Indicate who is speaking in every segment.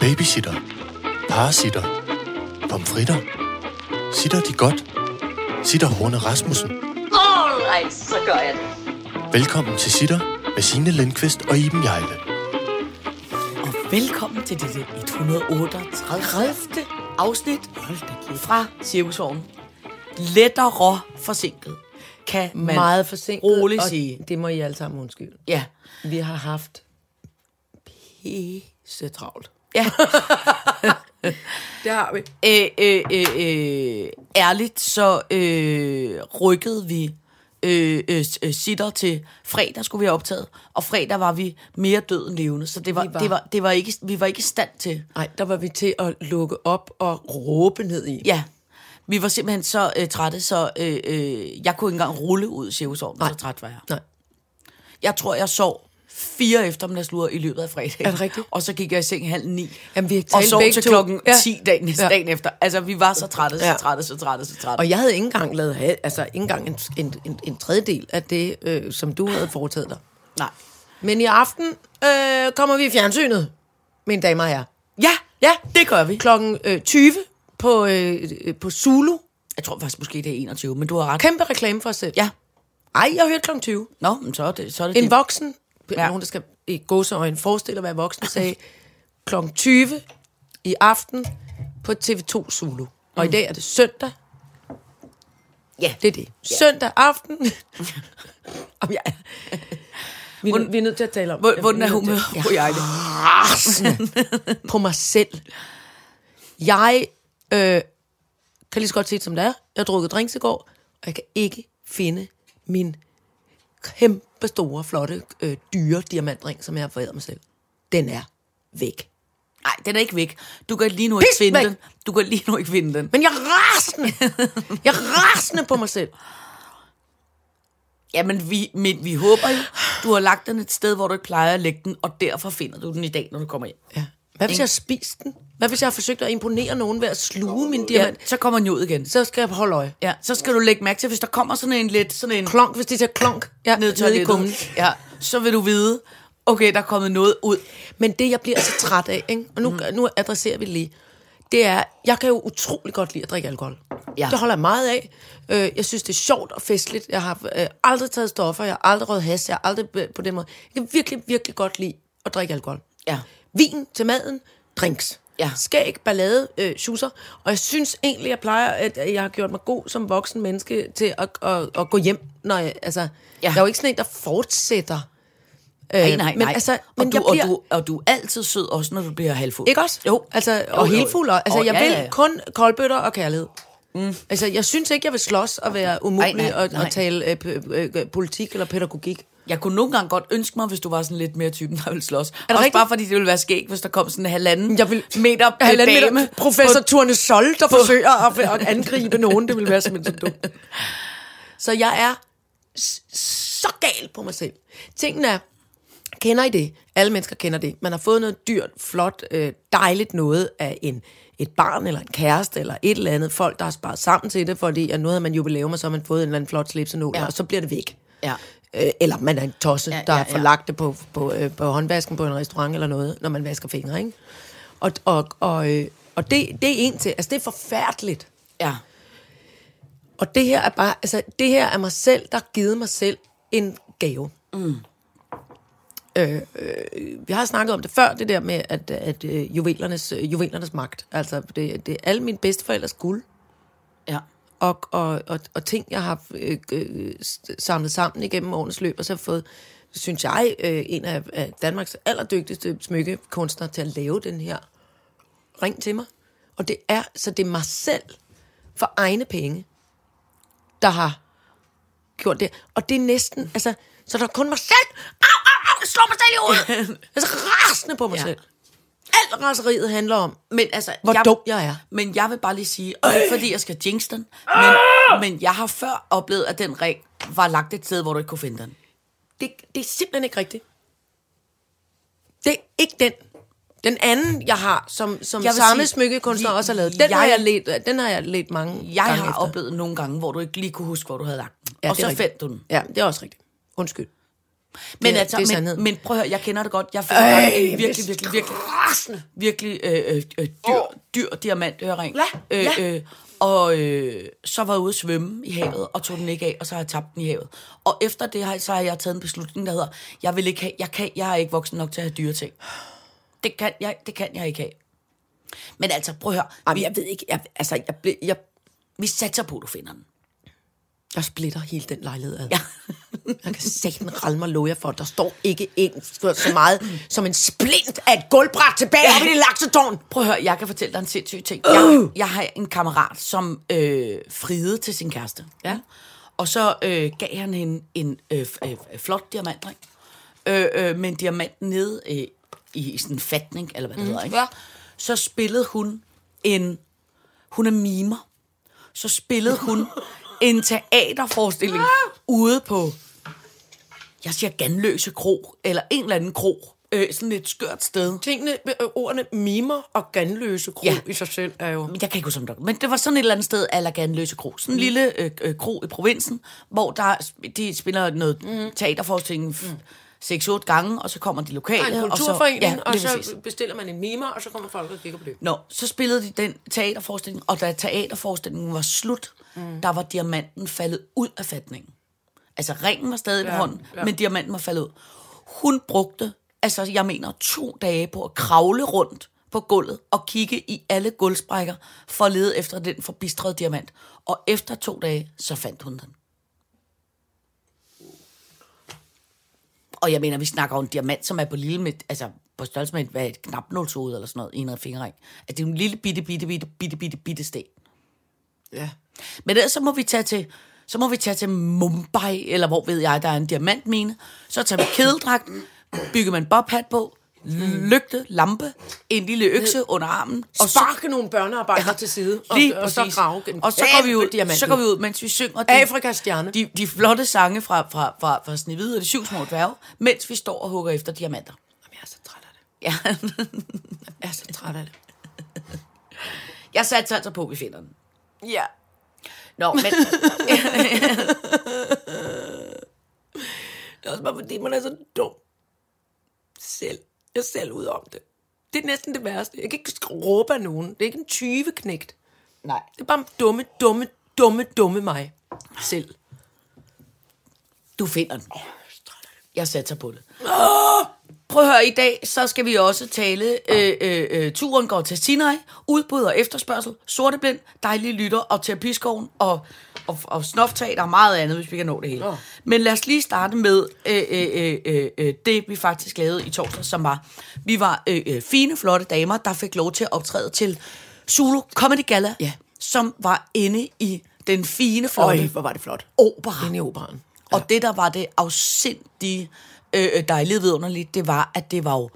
Speaker 1: Babysitter. Parasitter. Pomfritter. Sitter de godt? Sitter Horne Rasmussen.
Speaker 2: Alright, så gør jeg det.
Speaker 1: Velkommen til Sitter med Signe Lindqvist og Iben Jejle.
Speaker 3: Og velkommen til dette 138. afsnit fra Cirkusvognen. Lettere forsinket, kan man
Speaker 4: meget forsinket.
Speaker 3: roligt
Speaker 4: og
Speaker 3: sige.
Speaker 4: Det må I alle sammen undskylde.
Speaker 3: Ja,
Speaker 4: Vi har haft...
Speaker 3: pisse travlt.
Speaker 4: Det har vi.
Speaker 3: Øh, øh, øh, øh, ærligt, så øh, rykkede vi øh, øh, øh, sitter til fredag, skulle vi have optaget. Og fredag var vi mere død end levende, så det var,
Speaker 4: Vi var.
Speaker 3: Det var, det var ikke, vi var ikke i stand til
Speaker 4: Nej, der var vi til at lukke op og råbe ned i.
Speaker 3: Ja. Vi var simpelthen så øh, trætte, så øh, øh, jeg kunne ikke engang rulle ud i cirkusovnen, så træt var jeg.
Speaker 4: Nej.
Speaker 3: Jeg tror, jeg sov fire eftermiddagsluder i løbet af fredag.
Speaker 4: Er det rigtigt?
Speaker 3: Og så gik jeg i seng halv ni.
Speaker 4: Jamen, vi har
Speaker 3: og
Speaker 4: talt
Speaker 3: sov
Speaker 4: begge
Speaker 3: til
Speaker 4: to.
Speaker 3: klokken
Speaker 4: Ja.
Speaker 3: 10 dagen, ja.
Speaker 4: Ja.
Speaker 3: dagen efter. Altså, vi var så trætte, så
Speaker 4: Ja.
Speaker 3: trætte, så trætte, så trætte.
Speaker 4: Og jeg havde ikke engang lavet, hal- altså ikke engang en, en, en, en tredjedel af det, øh, som du havde foretaget dig.
Speaker 3: Nej.
Speaker 4: Men i aften øh, kommer vi i fjernsynet, mine damer og herrer.
Speaker 3: Ja, ja, det gør vi.
Speaker 4: Klokken øh, 20 på, øh, øh, på Zulu.
Speaker 3: Jeg tror faktisk måske, det er 21, men du har ret.
Speaker 4: Kæmpe reklame for os selv.
Speaker 3: Ja.
Speaker 4: Ej, jeg hørte klokken 20.
Speaker 3: Nå, men så er det, så er det,
Speaker 4: En
Speaker 3: det.
Speaker 4: voksen,
Speaker 3: Ja.
Speaker 4: ja. nogen der skal i gåseøjne forestille at være voksen, sagde klokken 20 i aften på TV2 Zulu. Og i dag er det søndag.
Speaker 3: Ja.
Speaker 4: Det er det. Søndag aften. Om jeg... Vi, er, nø- vi er nødt til at tale om...
Speaker 3: Hvor- Hvordan er
Speaker 4: vi nødt til-
Speaker 3: humøret på jeg det?
Speaker 4: på mig selv. Jeg øh, kan lige så godt se det, som det er. Jeg har drukket drinks i går, og jeg kan ikke finde min kæmpe store, flotte, øh, dyre diamantring, som jeg har foræret mig selv. Den er væk.
Speaker 3: Nej, den er ikke væk. Du kan lige nu ikke
Speaker 4: Pis
Speaker 3: finde
Speaker 4: væk!
Speaker 3: den. Du kan lige nu ikke finde den.
Speaker 4: Men jeg er rasende. jeg er rasende på mig selv.
Speaker 3: Jamen, vi, men vi håber jo, du har lagt den et sted, hvor du ikke plejer at lægge den, og derfor finder du den i dag, når du kommer hjem.
Speaker 4: Ja. Hvad hvis jeg har spist den? Hvad hvis jeg har forsøgt at imponere nogen ved at sluge min
Speaker 3: Ja,
Speaker 4: diamant?
Speaker 3: så kommer den jo ud igen.
Speaker 4: Så skal jeg holde øje.
Speaker 3: Ja, så skal du lægge mærke til, hvis der kommer sådan en lidt, sådan en
Speaker 4: Klonk, hvis de siger klonk. Ja,
Speaker 3: ned i toilettet, ja, så vil du vide, okay, der er kommet noget ud.
Speaker 4: Men det, jeg bliver så træt af, ikke? og nu,
Speaker 3: Mhm.
Speaker 4: mm. nu adresserer vi det lige, det er, jeg kan jo utrolig godt lide at drikke alkohol.
Speaker 3: Ja.
Speaker 4: Det holder jeg meget af. Øh, jeg synes, det er sjovt og festligt. Jeg har øh, aldrig taget stoffer, jeg har aldrig røget has, jeg har aldrig øh, på den måde. Jeg kan virkelig, virkelig godt lide at drikke alkohol.
Speaker 3: Ja.
Speaker 4: Vin til maden, drinks.
Speaker 3: Ja.
Speaker 4: Skæg, ballade, øh, schusser. Og jeg synes egentlig, jeg plejer, at at jeg har gjort mig god som voksen menneske til at, at, at gå hjem. Når jeg, altså, ja. jeg er jo ikke sådan en, der fortsætter. Øh,
Speaker 3: Nej, nej,
Speaker 4: men
Speaker 3: nej.
Speaker 4: altså,
Speaker 3: og,
Speaker 4: men
Speaker 3: du,
Speaker 4: jeg bliver-
Speaker 3: og, du, og du er altid sød, også når du bliver halvfuld.
Speaker 4: ikke også?
Speaker 3: Jo.
Speaker 4: Altså,
Speaker 3: Jo,
Speaker 4: og
Speaker 3: jo.
Speaker 4: helt fuld. og- Altså,
Speaker 3: Og
Speaker 4: jeg
Speaker 3: ja,
Speaker 4: vil
Speaker 3: ja, ja.
Speaker 4: kun koldbøtter og kærlighed. Mm. Altså, jeg synes ikke, jeg vil slås og være umulig
Speaker 3: nej,
Speaker 4: og,
Speaker 3: nej.
Speaker 4: og tale øh, p- øh, politik eller pædagogik.
Speaker 3: Jeg kunne nogle gange godt ønske mig, hvis du var sådan lidt mere typen, der ville slås. Er det også
Speaker 4: rigtigt?
Speaker 3: bare fordi, det ville være skæg, hvis der kom sådan en halvanden
Speaker 4: Jeg vil-
Speaker 3: meter
Speaker 4: Halvanden
Speaker 3: dame
Speaker 4: meter professor
Speaker 3: på-
Speaker 4: Turne Sol, der forsøger at, at angribe nogen. Det ville være simpelthen så dumt. Så jeg er s- så gal på mig selv. Tingene er, kender I det? Alle mennesker kender det. Man har fået noget dyrt, flot, øh, dejligt noget af en, et barn eller en kæreste eller et eller andet. Folk, der har sparet sammen til det, fordi at nu havde man jubilæum, og så har man fået en eller anden flot slips og nåler,
Speaker 3: Ja.
Speaker 4: ja. og så bliver det væk.
Speaker 3: Ja.
Speaker 4: Øh, eller man er en tosse,
Speaker 3: Ja,
Speaker 4: der
Speaker 3: ja,
Speaker 4: har
Speaker 3: ja.
Speaker 4: forlagt det på, på, øh, på håndvasken på en restaurant eller noget, når man vasker fingre, ikke? Og, og, og, øh, og det, det er en til. Altså, det er forfærdeligt.
Speaker 3: Ja.
Speaker 4: Og det her er bare, altså, det her er mig selv, der har givet mig selv en gave. Mm. Øh, øh, vi har snakket om det før, det der med, at, at øh, juvelernes, øh, juvelernes magt. Altså, det, det er alle mine bedsteforældres guld,
Speaker 3: Ja.
Speaker 4: og, og, og, og ting, jeg har øh, øh, s- samlet sammen igennem årenes løb, og så har jeg fået, synes jeg, øh, en af, af Danmarks allerdygtigste smykkekunstnere til at lave den her ring til mig. Og det er, så det er mig selv for egne penge, der har gjort det. Og det er næsten, altså, så der er kun mig selv. Au, au, au, jeg slår mig selv i hovedet. altså rasende på mig
Speaker 3: Ja.
Speaker 4: ja. selv. Alt raseriet handler om,
Speaker 3: Men altså,
Speaker 4: Hvor dum Øh. jeg er.
Speaker 3: Men jeg vil bare lige sige, og det er ikke fordi, jeg skal jinx den, men,
Speaker 4: Ah!
Speaker 3: men jeg har før oplevet, at den ring var lagt et sted, hvor du ikke kunne finde den.
Speaker 4: det, det er simpelthen ikke rigtigt. Det er ikke den. Den anden, jeg har, som, som
Speaker 3: Jeg vil sige,
Speaker 4: samme smykkekunstner
Speaker 3: vi-
Speaker 4: også har lavet, den, jeg, har
Speaker 3: jeg-
Speaker 4: jeg let, den har jeg let mange
Speaker 3: Jeg
Speaker 4: gange
Speaker 3: har
Speaker 4: efter.
Speaker 3: efter. oplevet nogle gange, hvor du ikke lige kunne huske, hvor du havde lagt den.
Speaker 4: Ja,
Speaker 3: og
Speaker 4: det
Speaker 3: så
Speaker 4: er
Speaker 3: fandt
Speaker 4: rigtigt.
Speaker 3: du den.
Speaker 4: Ja, det er også rigtigt. Undskyld.
Speaker 3: Men,
Speaker 4: Det er-
Speaker 3: altså,
Speaker 4: det er
Speaker 3: men,
Speaker 4: sandheden.
Speaker 3: men prøv at høre, jeg kender det godt. Jeg føler
Speaker 4: Øj,
Speaker 3: øh, virkelig,
Speaker 4: jeg bliver
Speaker 3: virkelig, virkelig, virkelig, virkelig øh, øh, øh, dyr, oh. dyr diamantøring.
Speaker 4: Ja, ja.
Speaker 3: Øh, øh, og øh, så var jeg ude at svømme i havet, og tog den ikke af, og så har jeg tabt den i havet. Og efter det har, så har jeg taget en beslutning, der hedder, jeg, vil ikke have, jeg, kan, jeg er ikke voksen nok til at have dyre ting. Det kan jeg, det kan jeg ikke have. Men altså, prøv at høre,
Speaker 4: Jamen,
Speaker 3: vi,
Speaker 4: jeg ved ikke, jeg, altså, jeg, ble, jeg,
Speaker 3: vi satser på, at du finder den.
Speaker 4: jeg splitter hele den lejlighed ad.
Speaker 3: Ja.
Speaker 4: Jeg kan satan ralle mig love jer for, der står ikke en, så meget som en splint af et gulvbræt tilbage ja. oppe i det laksetårn.
Speaker 3: Prøv at høre, jeg kan fortælle dig en sindssyg ting.
Speaker 4: Øh!
Speaker 3: Jeg, jeg har en kammerat, som øh, friede til sin kæreste.
Speaker 4: Ja.
Speaker 3: Og så øh, gav han hende en øh, f- øh, f- flot diamantring. Øh, øh, men diamanten nede øh, i, i sådan en fatning, eller hvad det mm, hedder. Ikke?
Speaker 4: Mhm. ja.
Speaker 3: Så spillede hun en... Hun er mimer. Så spillede hun en teaterforestilling
Speaker 4: Ah!
Speaker 3: ude på jeg siger Ganløse Kro, eller en eller anden kro. Øh, sådan et skørt sted.
Speaker 4: Tingene, øh, ordene mimer og ganløse kro
Speaker 3: Ja.
Speaker 4: i sig selv er jo...
Speaker 3: jeg kan ikke huske, om det var- men det var sådan et eller andet sted, Allerganløse Kro. Sådan en mm. lille øh, øh, kro i provinsen, hvor der, sp- de spiller noget mm. teaterforestilling f- 6-8 gange, og så kommer de lokale.
Speaker 4: Der er en
Speaker 3: og så-
Speaker 4: kulturforening,
Speaker 3: ja,
Speaker 4: og
Speaker 3: lige
Speaker 4: så, og
Speaker 3: præcis.
Speaker 4: så bestiller man en mimer, og så kommer folk og kigger på det.
Speaker 3: Nå, så spillede de den teaterforestilling, og da teaterforestillingen var slut, mm. der var diamanten faldet ud af fatningen. Altså ringen var stadig ja, på hånden, ja. men diamanten var faldet ud. Hun brugte, altså jeg mener, to dage på at kravle rundt på gulvet og kigge i alle gulvsprækker for at lede efter den forbistrede diamant. Og efter to dage, så fandt hun den. Og jeg mener, vi snakker om en diamant, som er på lille med, altså på størrelse med et, hvad, er et knapnålshoved eller sådan noget, en eller anden fingerring. At det er en lille bitte, bitte, bitte, bitte, bitte, bitte sten.
Speaker 4: Ja.
Speaker 3: Men ellers så må vi tage til, så må vi tage til Mumbai, eller hvor ved jeg, der er en diamantmine. Så tager vi kedeldragt, bygger man bobhat på, lygte, lampe, en lille økse under armen,
Speaker 4: Og
Speaker 3: og så,
Speaker 4: sparke nogle børnearbejdere ja. til side, og,
Speaker 3: lige
Speaker 4: og så
Speaker 3: præcis.
Speaker 4: grave den.
Speaker 3: Og så går, vi ud, så går vi ud, mens vi synger de,
Speaker 4: Afrikas stjerne.
Speaker 3: de, de flotte sange fra, fra, fra, fra Snevide og de syv små dværge, mens vi står og hugger efter diamanter.
Speaker 4: Jamen, jeg er så træt af det.
Speaker 3: Ja.
Speaker 4: Jeg er så træt af det.
Speaker 3: Jeg satte altså på, at vi finder den.
Speaker 4: Ja.
Speaker 3: Nå, men
Speaker 4: Det er også bare fordi, man er så dum. Selv. Jeg er selv ud om det. Det er næsten det værste. Jeg kan ikke råbe af nogen. Det er ikke en 20 knægt.
Speaker 3: nej.
Speaker 4: Det er bare dumme, dumme, dumme, dumme mig. Selv.
Speaker 3: Du finder den. Jeg satser på det. Prøv at høre, i dag så skal vi også tale, øh, øh, øh, turen går til Sinai, udbud og efterspørgsel, sorteblind, dejlige lytter og terapiskoven og, og, og snofteater og meget andet, hvis vi kan nå det hele.
Speaker 4: Nå.
Speaker 3: Men lad os lige starte med øh, øh, øh, øh, øh, det, vi faktisk lavede i torsdag, som var, vi var øh, øh, fine, flotte damer, der fik lov til at optræde til Zulu Comedy Gala,
Speaker 4: Ja.
Speaker 3: som var inde i den fine, flotte
Speaker 4: Øj, hvor var det flot.
Speaker 3: opera.
Speaker 4: Inde i operaen.
Speaker 3: Og det, der var det afsindige øh, dejlige vidunderligt, det var, at det var jo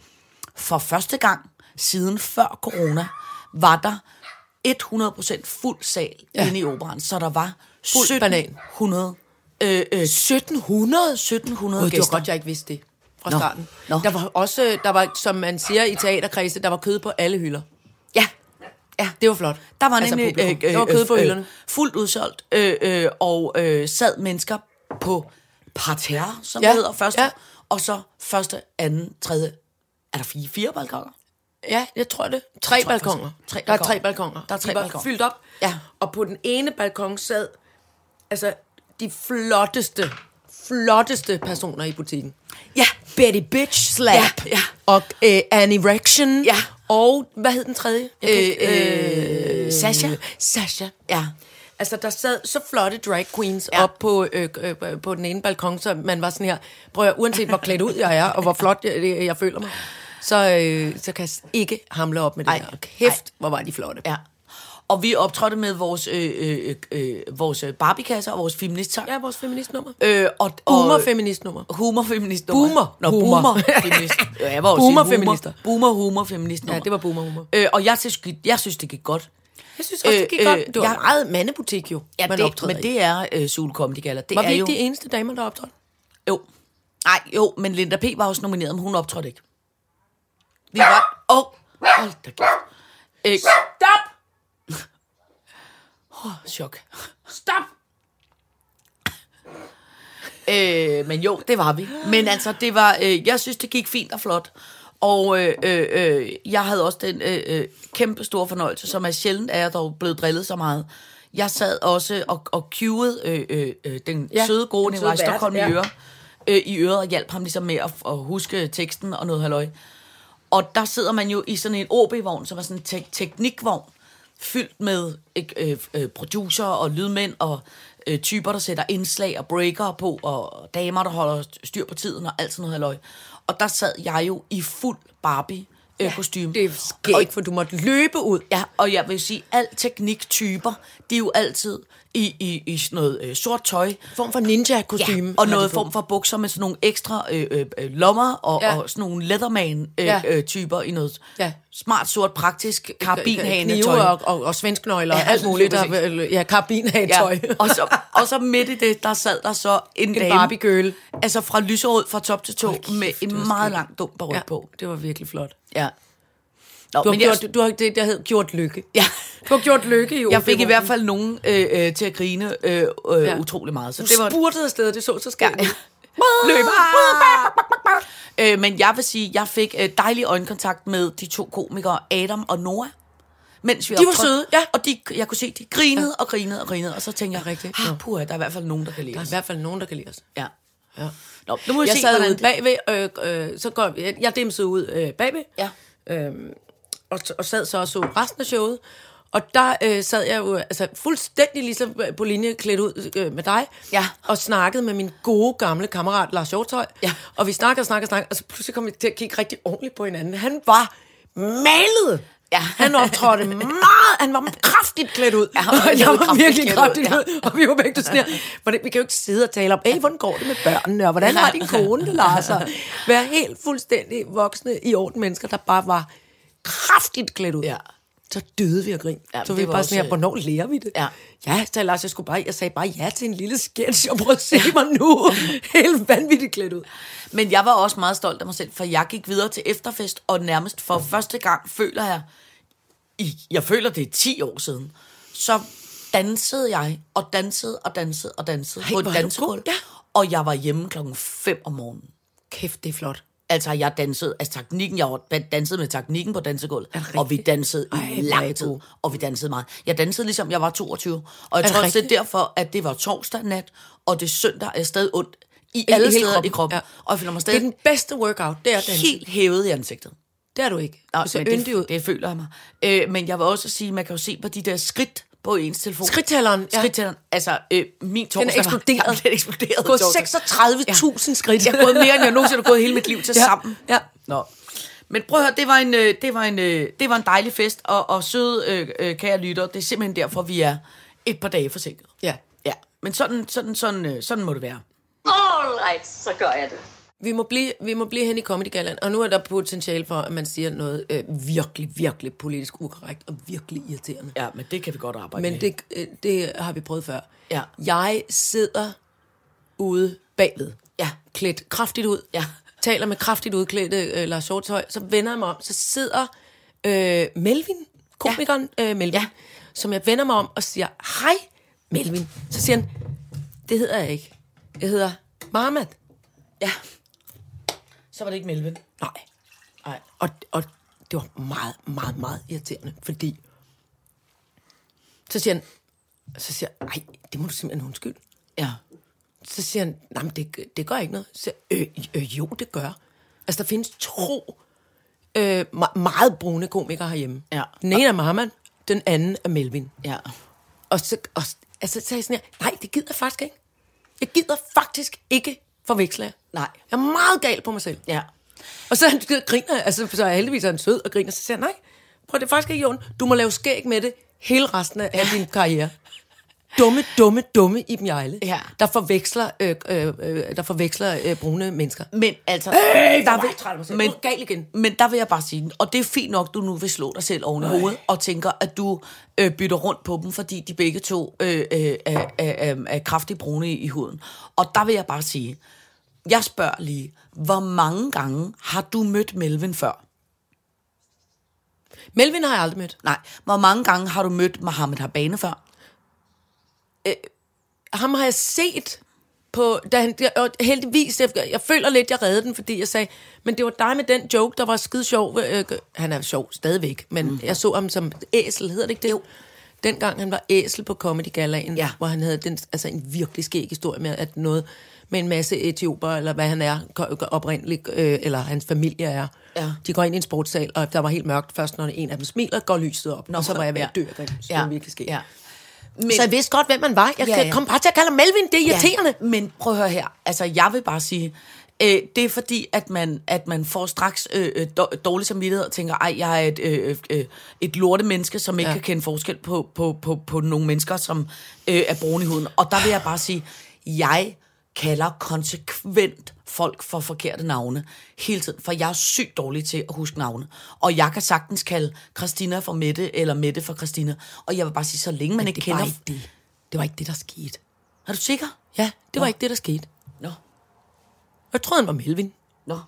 Speaker 3: for første gang siden før corona, var der 100% fuld sal ja.
Speaker 4: Ja.
Speaker 3: inde i operan. Så der var
Speaker 4: Fuld banan.
Speaker 3: 1700 øh, øh,
Speaker 4: 1700?
Speaker 3: 1700
Speaker 4: Gud, det var
Speaker 3: gæster.
Speaker 4: godt, jeg ikke vidste det fra
Speaker 3: Nå.
Speaker 4: starten.
Speaker 3: Nå.
Speaker 4: Der var også, der var, som man siger i teaterkredse, der var kød på alle hylder.
Speaker 3: Ja,
Speaker 4: Ja. Det var flot.
Speaker 3: der var
Speaker 4: Altså,
Speaker 3: nemlig øh,
Speaker 4: publikum. der var kød på hylderne.
Speaker 3: fuldt udsolgt, øh, øh, og øh, sad mennesker på parterre, som ja.
Speaker 4: Ja,
Speaker 3: det hedder, første, ja.
Speaker 4: ja.
Speaker 3: og så første, anden, tredje, er der fire, fire balkoner?
Speaker 4: Ja, jeg tror det. Tre
Speaker 3: Jeg tror faktisk-
Speaker 4: balkonger.
Speaker 3: tre
Speaker 4: der er
Speaker 3: balkoner.
Speaker 4: tre balkonger.
Speaker 3: Der er tre
Speaker 4: de var
Speaker 3: balkoner.
Speaker 4: fyldt op.
Speaker 3: Ja.
Speaker 4: Og på den ene balkon sad altså de flotteste, flotteste personer i butikken.
Speaker 3: Ja,
Speaker 4: Betty Bitch Slap.
Speaker 3: Ja, ja.
Speaker 4: Og øh, Annie Rection.
Speaker 3: Ja.
Speaker 4: Og hvad hed den tredje? Øh,
Speaker 3: øh, Sasha.
Speaker 4: Sasha.
Speaker 3: Ja.
Speaker 4: Altså, der sad så flotte drag queens
Speaker 3: Ja.
Speaker 4: ja. op på, øh, øh, på den ene balkon, så man var sådan her, prøv at, høre, uanset hvor klædt ud jeg er, og hvor flot jeg, jeg, jeg føler mig, så, øh, så kan jeg ikke hamle op med det
Speaker 3: Ej,
Speaker 4: Ej. her. Og kæft,
Speaker 3: ej.
Speaker 4: Ej. hvor var de flotte.
Speaker 3: Ja. Og vi optrådte med vores, øh, øh, øh, vores øh, Barbie-kasser og vores feminister.
Speaker 4: ja vores feministnummer.
Speaker 3: Øh, og,
Speaker 4: Boomer feministnummer.
Speaker 3: Humorfeminist.
Speaker 4: Boomer.
Speaker 3: Nå,
Speaker 4: Boomer.
Speaker 3: boomer. feminist. Ja, jeg var også
Speaker 4: Boomer-feminister.
Speaker 3: Boomer, humor, feminist.
Speaker 4: Ja, det var boomer-humor.
Speaker 3: Øh, og jeg synes, jeg synes, det gik godt.
Speaker 4: Jeg synes også, det gik øh, godt. Det var
Speaker 3: jeg-
Speaker 4: jeg, meget mandebutik jo,
Speaker 3: Ja,
Speaker 4: man
Speaker 3: det,
Speaker 4: optræder
Speaker 3: men
Speaker 4: i.
Speaker 3: det er øh, Zulu Comedy Gala. Det
Speaker 4: Var
Speaker 3: er
Speaker 4: vi ikke
Speaker 3: jo,
Speaker 4: de eneste damer, der optrådte?
Speaker 3: Jo. Nej, jo, men Linda P. var også nomineret, men hun optrådte ikke. Vi var... Åh, oh, hold da kæft. Øh,
Speaker 4: Stop!
Speaker 3: chok.
Speaker 4: Stop!
Speaker 3: Øh, Øh, men jo, det var vi. Men altså, det var, øh, jeg synes, det gik fint og flot. Og øh, øh, øh, jeg havde også den øh, øh, kæmpe store fornøjelse, som er sjældent, at jeg dog blevet drillet så meget. Jeg sad også og, og cuede øh, øh, øh, den ja,
Speaker 4: Ja,
Speaker 3: søde gode
Speaker 4: den
Speaker 3: Nikolaj
Speaker 4: søde vært,
Speaker 3: Stockholm
Speaker 4: ja.
Speaker 3: i øret, øh, i øret og hjalp ham ligesom med at, at huske teksten og noget halløj. Og der sidder man jo i sådan en OB-vogn, som er sådan en tek- teknikvogn, fyldt med ikke, øh, øh, producer og lydmænd og øh, typer, der sætter indslag og breaker på, og damer, der holder styr på tiden og alt sådan noget halløj. Og der sad jeg jo i fuld Barbie-kostyme.
Speaker 4: Det er skægt, for du måtte løbe ud.
Speaker 3: Ja, og jeg vil sige, al tekniktyper, de er jo altid i, i, i sådan noget øh, sort tøj,
Speaker 4: Form for ninja-kostyme.
Speaker 3: Ja, og noget form for bukser med sådan nogle ekstra øh, øh, øh, lommer og, ja.
Speaker 4: Ja.
Speaker 3: og sådan nogle leatherman-typer
Speaker 4: Ja.
Speaker 3: øh, øh, typer i noget
Speaker 4: Ja.
Speaker 3: smart, sort, praktisk
Speaker 4: Knive
Speaker 3: karabinhane-tøj.
Speaker 4: og, og, og svensknøgler
Speaker 3: Ja,
Speaker 4: og alt muligt.
Speaker 3: lige
Speaker 4: Der, ja, karbinhagetøj.
Speaker 3: Ja. Og, så, og så midt i det, der sad der så en, en dame.
Speaker 4: Barbie-girl.
Speaker 3: Altså fra lyserød fra top til tå
Speaker 4: kæft,
Speaker 3: med
Speaker 4: det var
Speaker 3: en meget
Speaker 4: skægt.
Speaker 3: lang dum baryk ja. på.
Speaker 4: det var virkelig flot.
Speaker 3: Ja. Nå,
Speaker 4: Du har,
Speaker 3: men jeg,
Speaker 4: gjort, du, du har det, der hedder gjort lykke.
Speaker 3: Ja.
Speaker 4: Du har gjort lykke i
Speaker 3: jeg fik i
Speaker 4: Åbevognen.
Speaker 3: hvert fald nogen øh, øh, til at grine øh, øh, ja.
Speaker 4: Ja.
Speaker 3: utrolig meget. Så
Speaker 4: Du
Speaker 3: det var,
Speaker 4: spurtede afsted, det så så skægt.
Speaker 3: Ja.
Speaker 4: Ja.
Speaker 3: Øh, men jeg vil sige, jeg fik øh, dejlig øjenkontakt med de to komikere, Adam og Noah. Mens vi
Speaker 4: De var
Speaker 3: optrådte.
Speaker 4: søde, ja.
Speaker 3: Og de, jeg kunne se, de grinede ja. og grinede og grinede, og så tænkte jeg,
Speaker 4: Ja, rigtigt.
Speaker 3: ah,
Speaker 4: Ja.
Speaker 3: puha, der er i hvert fald nogen, der kan lide
Speaker 4: Der er i
Speaker 3: os.
Speaker 4: hvert fald nogen, der kan lide os.
Speaker 3: Ja.
Speaker 4: Ja.
Speaker 3: Nå, nu må vi
Speaker 4: Jeg
Speaker 3: se,
Speaker 4: sad
Speaker 3: hvordan
Speaker 4: ude
Speaker 3: det-
Speaker 4: bagved, øh, øh, så går jeg, jeg dimsede ud øh, bagved,
Speaker 3: Ja.
Speaker 4: øhm, og, og sad så og så resten af showet. Og der øh, sad jeg jo altså, fuldstændig ligesom øh, på linje klædt ud øh, med dig,
Speaker 3: Ja.
Speaker 4: og snakkede med min gode gamle kammerat Lars Hjortøj.
Speaker 3: Ja.
Speaker 4: Og vi snakkede og snakkede og snakkede, og så pludselig kom vi til at kigge rigtig ordentligt på hinanden. Han var malet!
Speaker 3: Ja.
Speaker 4: Han optrådte meget, han var kraftigt klædt ud.
Speaker 3: Ja, han var
Speaker 4: og jeg var
Speaker 3: kraftigt
Speaker 4: virkelig
Speaker 3: klædt ud,
Speaker 4: kraftigt
Speaker 3: ja.
Speaker 4: klædt ud. Og vi var begge to sådan her. Hvordan, vi kan jo ikke sidde og tale om, hey, hvordan går det med børnene, og hvordan har din kone det, Lars? Og være helt fuldstændig voksne i orden mennesker, der bare var kraftigt klædt ud.
Speaker 3: Ja.
Speaker 4: Så døde vi og grin.
Speaker 3: Ja,
Speaker 4: Ja, så
Speaker 3: det
Speaker 4: vi
Speaker 3: var
Speaker 4: var bare
Speaker 3: også,
Speaker 4: sådan her,
Speaker 3: øh,
Speaker 4: hvornår lærer vi det?
Speaker 3: Ja.
Speaker 4: ja så Lars, jeg, skulle bare, jeg sagde bare ja til en lille sketch, og prøv at se mig nu. helt vanvittigt klædt ud.
Speaker 3: Men jeg var også meget stolt af mig selv, for jeg gik videre til efterfest, og nærmest for første gang føler jeg, i, jeg føler det er 10 år siden, så dansede jeg, og dansede, og dansede, og dansede Ej,
Speaker 4: Ej,
Speaker 3: på et
Speaker 4: hvor er du
Speaker 3: dansegulv.
Speaker 4: god, ja.
Speaker 3: Og jeg var hjemme klokken 5 om morgenen.
Speaker 4: Kæft, det er flot.
Speaker 3: Altså, jeg dansede, altså teknikken, jeg var- dansede med teknikken på dansegulvet,
Speaker 4: Er det
Speaker 3: og vi
Speaker 4: rigtigt?
Speaker 3: dansede
Speaker 4: Ej,
Speaker 3: i
Speaker 4: hvor er I
Speaker 3: lang tid,
Speaker 4: gode.
Speaker 3: og vi dansede meget. Jeg dansede ligesom, jeg var 22, og jeg
Speaker 4: Er det
Speaker 3: tror også, det er
Speaker 4: rigtigt?
Speaker 3: derfor, at det var torsdag nat, og det er søndag er stadig ondt i alle
Speaker 4: hele
Speaker 3: steder i
Speaker 4: kroppen,
Speaker 3: kroppen,
Speaker 4: ja.
Speaker 3: og jeg føler mig
Speaker 4: Det er
Speaker 3: stadig
Speaker 4: den bedste workout, det er den.
Speaker 3: helt hævet i ansigtet.
Speaker 4: Det er du ikke.
Speaker 3: Nå,
Speaker 4: Du ser
Speaker 3: men
Speaker 4: yndig ud.
Speaker 3: det, det føler jeg mig. Øh, men jeg vil også sige, man kan jo se på de der skridt på ens telefon.
Speaker 4: Skridttælleren, ja.
Speaker 3: Skridttælleren. Altså, øh, min torsdag var-
Speaker 4: eksploderet.
Speaker 3: Jamen, den er eksploderet.
Speaker 4: Gået
Speaker 3: torsdag.
Speaker 4: 36.000 skridt.
Speaker 3: Jeg har gået mere, end jeg nogensinde har gået hele mit liv til
Speaker 4: Ja,
Speaker 3: sammen.
Speaker 4: ja.
Speaker 3: Nå. Men prøv at høre, det var en, øh, det var en, øh, det var en dejlig fest, og, og søde øh, øh, kære lytter, det er simpelthen derfor, vi er et par dage forsinket.
Speaker 4: Ja.
Speaker 3: Ja, men sådan, sådan, sådan, øh, sådan må det være.
Speaker 2: All right, så gør jeg det.
Speaker 4: Vi må, blive, vi må blive hen i Comedy Galand, og nu er der potentiale for, at man siger noget øh, virkelig, virkelig politisk ukorrekt og virkelig irriterende.
Speaker 3: Ja, men det kan vi godt arbejde
Speaker 4: Men
Speaker 3: med.
Speaker 4: det, øh, det har vi prøvet før.
Speaker 3: Ja.
Speaker 4: Jeg sidder ude bagved,
Speaker 3: Ja.
Speaker 4: klædt kraftigt ud,
Speaker 3: Ja.
Speaker 4: taler med kraftigt udklædte øh, Lars Hjortøj, så vender jeg mig om, så sidder øh, Melvin, komikeren ja. øh, Melvin,
Speaker 3: Ja.
Speaker 4: ja. som jeg vender mig om og siger, hej Melvin. Så siger han, det hedder jeg ikke. Jeg hedder Marmat.
Speaker 3: Ja. Så var det ikke Melvin.
Speaker 4: Nej. Nej. Og, og det var meget, meget, meget irriterende, fordi... Så siger han, så siger jeg, ej, det må du simpelthen undskylde.
Speaker 3: Ja.
Speaker 4: Så siger han, nej, men det, det gør ikke noget. Så siger jeg, øh, øh, jo, det gør. Altså, der findes to øh, me- meget brune komikere herhjemme.
Speaker 3: Ja.
Speaker 4: Den ene er Marman, den anden er Melvin.
Speaker 3: Ja.
Speaker 4: Og så, og, altså, så sagde jeg sådan her, nej, det gider jeg faktisk ikke. Jeg gider faktisk ikke forveksle jer.
Speaker 3: Nej.
Speaker 4: Jeg er meget gal på mig selv.
Speaker 3: Ja.
Speaker 4: Og så han griner, altså så er heldigvis er han sød og griner, så siger han, nej, prøv det er faktisk ikke i orden. Du må lave skæg med det hele resten af ja. din karriere. Dumme, dumme, dumme Iben Jejle,
Speaker 3: Ja.
Speaker 4: der forveksler, øh, øh, øh, der forveksler øh, brune mennesker.
Speaker 3: Men altså...
Speaker 4: Øh, der vil, men,
Speaker 3: men,
Speaker 4: uh, gal igen.
Speaker 3: men der vil jeg bare sige, og det er fint nok, du nu vil slå dig selv oven i hovedet, og tænker, at du øh, bytter rundt på dem, fordi de begge to øh, øh, er, er, er, er kraftigt brune i, i huden. Og der vil jeg bare sige, jeg spørger lige, hvor mange gange har du mødt Melvin før?
Speaker 4: Melvin har jeg aldrig mødt.
Speaker 3: Nej, hvor mange gange har du mødt Mohammed Habane før?
Speaker 4: Ham har jeg set på, da han, jeg, og heldigvis, jeg, jeg føler lidt, jeg reddede den, fordi jeg sagde, men det var dig med den joke, der var skide sjov. Øh, han er sjov stadigvæk, men mm. jeg så ham som æsel, hedder det ikke det? Jo. Dengang han var æsel på Comedy Galaen,
Speaker 3: Ja.
Speaker 4: hvor han havde den, altså en virkelig skæg historie med, at noget med en masse etioper, eller hvad han er ko- oprindeligt, øh, eller hans familie er.
Speaker 3: Ja.
Speaker 4: De går ind i en sportssal, og der var helt mørkt først, når en af dem smiler, går lyset op, Nå, og så var jeg ved at dø af grin. Så det var virkelig skægt.
Speaker 3: Ja.
Speaker 4: Men, så jeg vidste godt, hvem man var. Jeg
Speaker 3: Ja,
Speaker 4: ja,
Speaker 3: ja.
Speaker 4: kom bare til at kalde ham Melvin, det er irriterende.
Speaker 3: Ja, men prøv at høre her. Altså, jeg vil bare sige, øh, det er fordi, at man, at man får straks øh, øh, dår- dårlig samvittighed og tænker, ej, jeg er et, øh, øh, et lorte menneske, som ikke
Speaker 4: Ja.
Speaker 3: ja. kan kende forskel på, på, på, på nogle mennesker, som øh, er brune i huden. Og der vil jeg bare sige, jeg kalder konsekvent folk for forkerte navne hele tiden, for jeg er sygt dårlig til at huske navne. Og jeg kan sagtens kalde Christina for Mette, eller Mette for Christina. Og jeg vil bare sige, så længe man ikke
Speaker 4: det var
Speaker 3: kender...
Speaker 4: ikke det. Det var ikke det, der skete.
Speaker 3: Er du sikker?
Speaker 4: Ja, det var ikke det, der skete.
Speaker 3: Nå.
Speaker 4: Jeg troede, han var Melvin.
Speaker 3: Nå.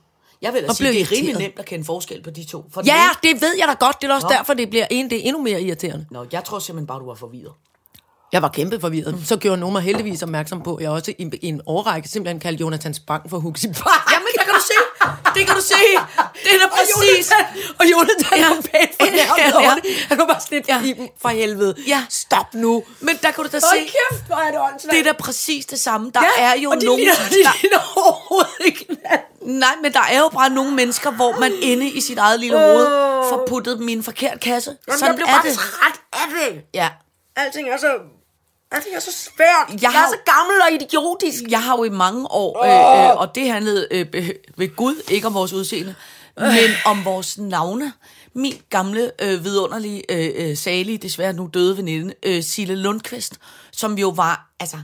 Speaker 3: Jeg vil
Speaker 4: Og
Speaker 3: ellers sige,
Speaker 4: blev
Speaker 3: det er rimelig
Speaker 4: irriteret.
Speaker 3: nemt at kende forskel på de to. For den
Speaker 4: Ja,
Speaker 3: ene-
Speaker 4: det ved jeg da godt. Det er også
Speaker 3: Nå.
Speaker 4: derfor, det bliver en, det er endnu mere irriterende.
Speaker 3: Nå, jeg tror simpelthen bare, du var forvirret.
Speaker 4: Jeg var kæmpe forvirret.
Speaker 3: Mm.
Speaker 4: Så gjorde nogen mig heldigvis opmærksom på, at jeg også i, i en årrække simpelthen kaldte Jonathan Spang for Huxi Bang.
Speaker 3: Jamen, det kan du se. Det kan du se. Det er da præcis.
Speaker 4: Og Jonathan ja. var pænt for
Speaker 3: Ja,
Speaker 4: ja,
Speaker 3: ja.
Speaker 4: ja. Han var bare sådan lidt, ja. for helvede.
Speaker 3: Ja.
Speaker 4: Stop nu.
Speaker 3: Men der kan du da se,
Speaker 4: Hold kæft, hvor er det åndssvagt.
Speaker 3: det er da præcis det samme. Der ja, er jo
Speaker 4: og de
Speaker 3: nogen...
Speaker 4: ligner- de ligner
Speaker 3: overhovedet ikke Nej, men der er jo bare nogle mennesker, hvor man inde i sit eget lille hoved får puttet dem i en forkert kasse. Jamen, Sådan er det.
Speaker 4: træt af det.
Speaker 3: Ja.
Speaker 4: Alting er så... Alting er så svært. Jeg,
Speaker 3: Jeg
Speaker 4: jeg er
Speaker 3: har-
Speaker 4: så gammel og idiotisk.
Speaker 3: Jeg har jo i mange år, øh, øh, og det handlede øh, øh, ved Gud, ikke om vores udseende, men
Speaker 4: Øh.
Speaker 3: om vores navne. Min gamle, øh, vidunderlige, øh, øh, salige, desværre nu døde veninde, øh, Sille Lundqvist, som jo var, altså,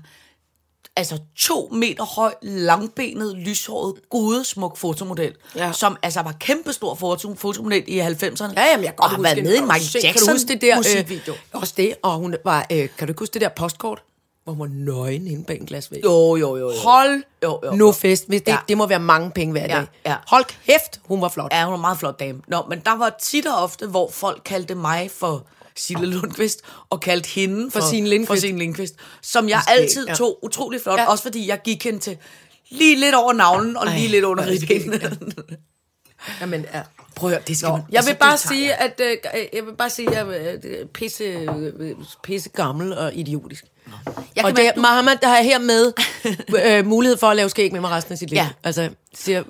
Speaker 3: altså to meter høj, langbenet, lyshåret, gudesmuk fotomodel,
Speaker 4: Ja.
Speaker 3: ja. som altså var kæmpestor foto, fotomodel i 90'erne.
Speaker 4: Ja, jamen, jeg kan godt
Speaker 3: og har
Speaker 4: huske
Speaker 3: været
Speaker 4: det.
Speaker 3: med i
Speaker 4: Kan du se-
Speaker 3: Michael
Speaker 4: Kan du huske det der
Speaker 3: Jackson-musikvideo.
Speaker 4: Øh, også det, og hun var... Øh, kan du ikke huske det der postkort? Hvor hun var nøgen inde bag en glasvæg.
Speaker 3: Jo, jo, jo, jo.
Speaker 4: Hold
Speaker 3: Jo, jo,
Speaker 4: nu
Speaker 3: jo.
Speaker 4: fest. Hvis det, ja.
Speaker 3: Ja.
Speaker 4: det må være mange penge hver
Speaker 3: Ja,
Speaker 4: dag.
Speaker 3: ja.
Speaker 4: Hold kæft, hun var flot.
Speaker 3: Ja, hun er en meget flot dame. Nå, men der var tit og ofte, hvor folk kaldte mig for Sille Lundqvist, og kaldte hende for,
Speaker 4: Signe Lindqvist.
Speaker 3: for Signe Lindqvist, som jeg
Speaker 4: skæg,
Speaker 3: altid
Speaker 4: ja.
Speaker 3: tog utrolig flot,
Speaker 4: Ja.
Speaker 3: ja. også fordi jeg gik hen til lige lidt over navlen, og
Speaker 4: Ej,
Speaker 3: lige lidt under
Speaker 4: hvor er det skægt,
Speaker 3: ribbenene.
Speaker 4: Jamen, ja.
Speaker 3: Prøv at høre, det skal
Speaker 4: Nå,
Speaker 3: man,
Speaker 4: jeg vil
Speaker 3: Altså, det
Speaker 4: bare
Speaker 3: tager
Speaker 4: sige,
Speaker 3: jeg.
Speaker 4: at øh, jeg vil bare sige, at jeg er pisse, øh, pisse gammel og idiotisk. Jeg
Speaker 3: Jeg
Speaker 4: og
Speaker 3: kan
Speaker 4: det,
Speaker 3: mærke, du-
Speaker 4: Mohammed, der har hermed øh, mulighed for at lave skæg med mig resten af sit liv.
Speaker 3: Ja.
Speaker 4: Altså, siger,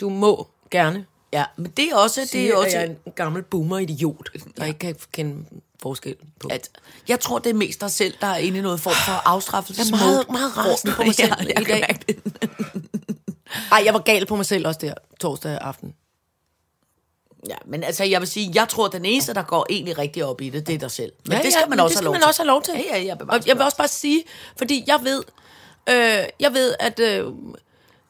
Speaker 4: du må gerne
Speaker 3: Ja, men det er også...
Speaker 4: sige,
Speaker 3: Det er også
Speaker 4: at jeg er en gammel boomer-idiot, der ikke kan kende forskel på.
Speaker 3: at jeg tror, det er mest dig selv, der er inde i noget form for afstraffelse.
Speaker 4: Jeg er meget- meget rasende på mig selv
Speaker 3: ja,
Speaker 4: i
Speaker 3: jeg
Speaker 4: dag.
Speaker 3: kan mærke det.
Speaker 4: Ej, jeg var gal på mig selv også der torsdag aften.
Speaker 3: Ja, men altså, jeg vil sige, jeg tror, den eneste, der går egentlig rigtig op i det, det er dig selv. Men
Speaker 4: Ja,
Speaker 3: det skal
Speaker 4: ja,
Speaker 3: man
Speaker 4: men
Speaker 3: også
Speaker 4: det skal
Speaker 3: have lov
Speaker 4: man
Speaker 3: til.
Speaker 4: også have lov til.
Speaker 3: Ja, ja, ja, bevares,
Speaker 4: Og jeg vil også bare sige, fordi jeg ved, øh, jeg ved, at øh,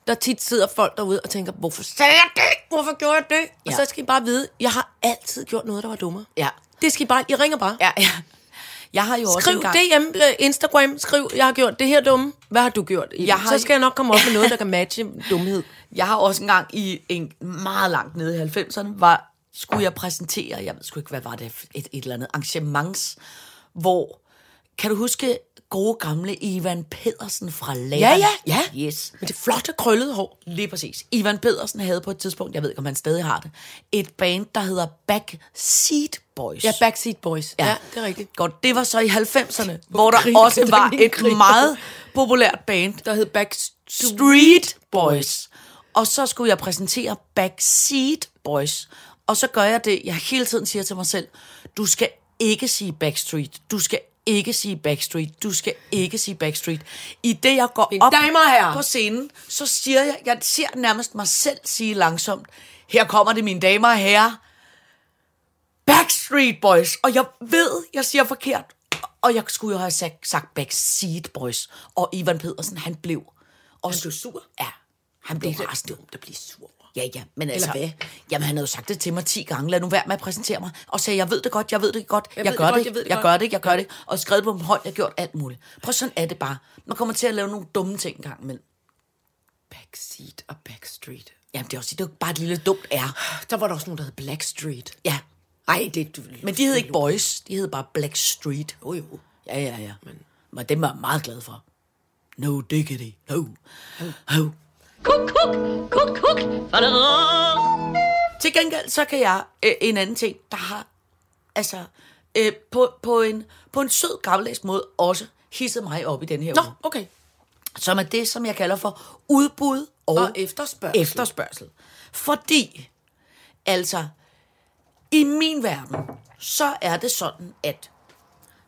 Speaker 4: der tit sidder folk derude og tænker, hvorfor sagde jeg det? Hvorfor gjorde jeg det? Ja. Og
Speaker 3: Ja.
Speaker 4: så skal I bare vide, jeg har altid gjort noget, der var dummere.
Speaker 3: Ja.
Speaker 4: Det skal I bare, I ringer bare.
Speaker 3: Ja, ja. Jeg har jo også
Speaker 4: Skriv
Speaker 3: engang...
Speaker 4: DM, øh, Instagram, skriv, jeg har gjort det her dumme. Hvad har du gjort? Jeg
Speaker 3: Jeg
Speaker 4: har...
Speaker 3: har-
Speaker 4: Så skal jeg nok komme op med noget, der kan matche dumhed.
Speaker 3: Jeg har også engang i en meget langt nede i 90'erne, var, skulle jeg præsentere, jeg ved sgu ikke, hvad var det, et, et eller andet arrangements, hvor, kan du huske gode gamle Ivan Pedersen fra Lager?
Speaker 4: Ja, ja, ja.
Speaker 3: Yes.
Speaker 4: Men det flotte krøllede hår.
Speaker 3: Lige præcis. Ivan Pedersen havde på et tidspunkt, jeg ved ikke, om han stadig har det, et band, der hedder Backseat Boys.
Speaker 4: Ja, Backseat Boys. Ja, ja det er rigtigt. øh,
Speaker 3: Godt, det var så i 90'erne, hvor der
Speaker 4: griner
Speaker 3: også
Speaker 4: den
Speaker 3: var
Speaker 4: ene
Speaker 3: et
Speaker 4: griner?
Speaker 3: meget populært band,
Speaker 4: Der hed Backstreet.
Speaker 3: Street Boys. Og så skulle jeg præsentere Backseat Boys. Og så gør jeg det, jeg hele tiden siger til mig selv, du skal ikke sige Backstreet. Du skal ikke sige Backstreet. Du skal ikke sige Backstreet. I det, jeg går op
Speaker 4: damer og herrer.
Speaker 3: på scenen, så siger jeg, jeg ser nærmest mig selv sige langsomt, her kommer det, mine damer og herrer. Backstreet Boys. Og jeg ved, jeg siger forkert. Og jeg skulle jo have sagt, sagt Backseat Boys. Og Ivan Pedersen, han blev... Og han blev sur? Ja, han blev rasende. dumt at blive sur. Ja, ja, men altså...
Speaker 4: hvad?
Speaker 3: Jamen, han havde jo sagt det til mig 10 gange. Lad nu være med at præsentere mig. Og sagde, jeg ved det godt, jeg ved det godt. Jeg,
Speaker 4: ved
Speaker 3: gør det,
Speaker 4: det godt, jeg ved det
Speaker 3: jeg
Speaker 4: godt.
Speaker 3: gør det, jeg gør det. Og skrevet på min hånd, jeg har gjort alt muligt. Prøv sådan er det bare. Man kommer til at lave nogle dumme ting engang imellem.
Speaker 4: Backseat og Backstreet.
Speaker 3: Jamen, det er også det er jo bare et lille dumt er.
Speaker 4: Der var der også nogen, der hed Blackstreet.
Speaker 3: Ja,
Speaker 4: Ej, det du...
Speaker 3: Men de hed ikke Boys, de hed bare Black Street. Jo, jo. Ja, ja, ja. Men, men dem var jeg meget glad for. no diggity, no, no.
Speaker 2: Kuk, kuk, kuk, kuk. Fadadadam.
Speaker 3: Til gengæld, så kan jeg øh, en anden ting, der har, altså, øh, på, på, en, på en sød gammeldags måde også hisset mig op i den her
Speaker 4: Nå,
Speaker 3: uge.
Speaker 4: okay.
Speaker 3: Som er det, som jeg kalder for udbud og,
Speaker 4: Og efterspørgsel.
Speaker 3: efterspørgsel. Fordi, altså, i min verden, så er det sådan, at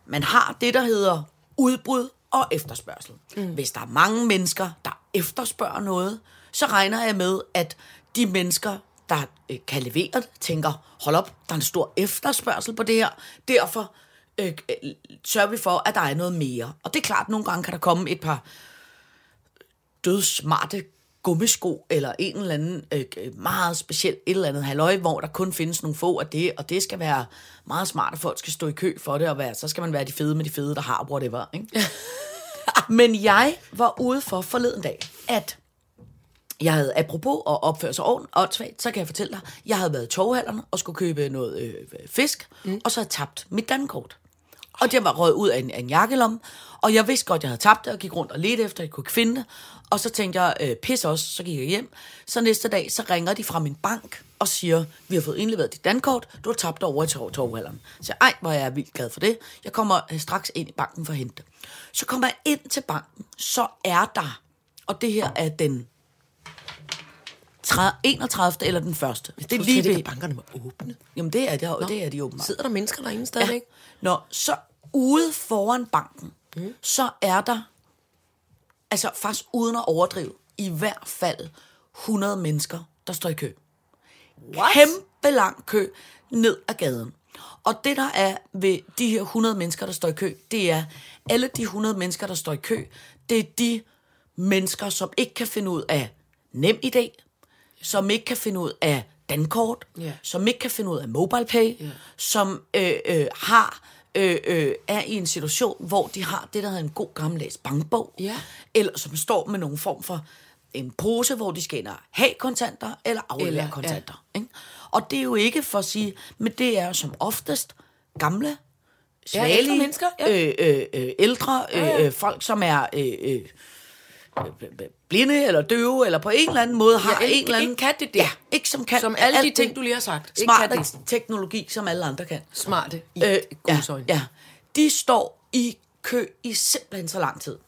Speaker 3: man har det, der hedder udbud og efterspørgsel. Mm. Hvis der er mange mennesker, der efterspørger noget, så regner jeg med, at de mennesker, der øh, kan levere det, tænker, hold op, der er en stor efterspørgsel på det her, derfor øh, øh, sørger vi for, at der er noget mere. Og det er klart, nogle gange kan der komme et par dødsmarte gummisko, eller en eller anden øh, øh, meget speciel et eller andet halløj, hvor der kun findes nogle få af det, og det skal være meget smart, at folk skal stå i kø for det, og være, så skal man være de fede med de fede, der har whatever. Ikke? Men jeg var ude for forleden dag, at jeg havde, apropos at opføre sig ordentligt, åndssvagt, så kan jeg fortælle dig, jeg havde været i torvhallerne og skulle købe noget øh, fisk, mm. og så havde jeg tabt mit dankort. Og det var røget ud af en, af en jakkelomme, og jeg vidste godt, jeg havde tabt det, og gik rundt og ledte efter, at jeg kunne ikke finde det. Og så tænkte jeg, øh, pis også, så gik jeg hjem. Så næste dag, så ringer de fra min bank og siger, vi har fået indleveret dit dankort, du har tabt det over i torv- torvhalleren. Så jeg, ej, hvor er jeg vildt glad for det. Jeg kommer øh, straks ind i banken for at hente det. Så kommer jeg ind til banken, så er der, og det her er den 30, 31. eller den 1. Det er lige ved.
Speaker 4: at bankerne må åbne.
Speaker 3: Jamen det er, det, er, det er de åbenbart.
Speaker 4: Sidder der mennesker derinde stadigvæk? Ja.
Speaker 3: Nå, så ude foran banken, mm. så er der, altså faktisk uden at overdrive, i hvert fald 100 mennesker, der står i kø. What? Kæmpe lang kø ned ad gaden. Og det, der er ved de her 100 mennesker, der står i kø, det er, alle de 100 mennesker, der står i kø, det er de mennesker, som ikke kan finde ud af nem idé, som ikke kan finde ud af dankort,
Speaker 4: Ja.
Speaker 3: som ikke kan finde ud af mobile pay, yeah. som øh, øh, har øh, øh, er i en situation, hvor de har det, der hedder en god gammeldags bankbog,
Speaker 4: Ja.
Speaker 3: eller som står med nogen form for en pose, hvor de skal ind og have kontanter eller
Speaker 4: Eller,
Speaker 3: aflevere
Speaker 4: ja.
Speaker 3: kontanter. Ikke? Og det er jo ikke for at sige, men det er jo som oftest gamle,
Speaker 4: Ja,
Speaker 3: svagelige,
Speaker 4: ældre mennesker, ja.
Speaker 3: øh, øh, øh, ældre, øh, øh, folk, som er øh, øh, blinde eller døve, eller på en eller anden måde har
Speaker 4: Ja, ikke-
Speaker 3: en eller anden...
Speaker 4: ikke kan det der.
Speaker 3: Ja, ikke som kan.
Speaker 4: Som alle de
Speaker 3: alt
Speaker 4: ting,
Speaker 3: det
Speaker 4: du lige har sagt. Ikke
Speaker 3: Smart
Speaker 4: kan
Speaker 3: og teknologi, som alle andre kan.
Speaker 4: Smarte. I
Speaker 3: Øh, ja,
Speaker 4: godsøjne.
Speaker 3: ja. De står i kø i simpelthen så lang tid.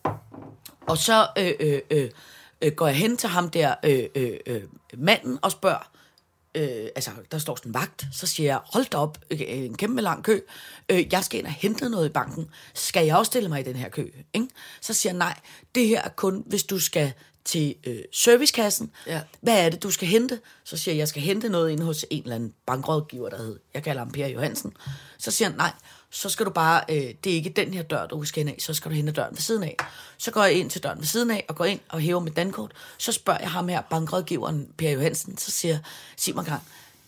Speaker 3: Og så øh, øh, øh, øh, går jeg hen til ham der, øh, øh, øh, manden, og spørger, øh, altså, der står sådan en vagt, så siger jeg, hold da op, øh, en kæmpe lang kø, øh, jeg skal ind og hente noget i banken, skal jeg også stille mig i den her kø? Ikke? Så siger jeg, nej, det her er kun, hvis du skal til øh, servicekassen,
Speaker 4: Ja.
Speaker 3: hvad er det, du skal hente? Så siger jeg, jeg skal hente noget inde hos en eller anden bankrådgiver, der hed, jeg kalder ham Per Johansen. Så siger han, nej, så skal du bare, øh, det er ikke den her dør, du skal hen af, så skal du hente døren ved siden af. Så går jeg ind til døren ved siden af, og går ind og hæver mit dankort. Så spørger jeg ham her, bankrådgiveren Per Johansen, så siger jeg, sig mig engang,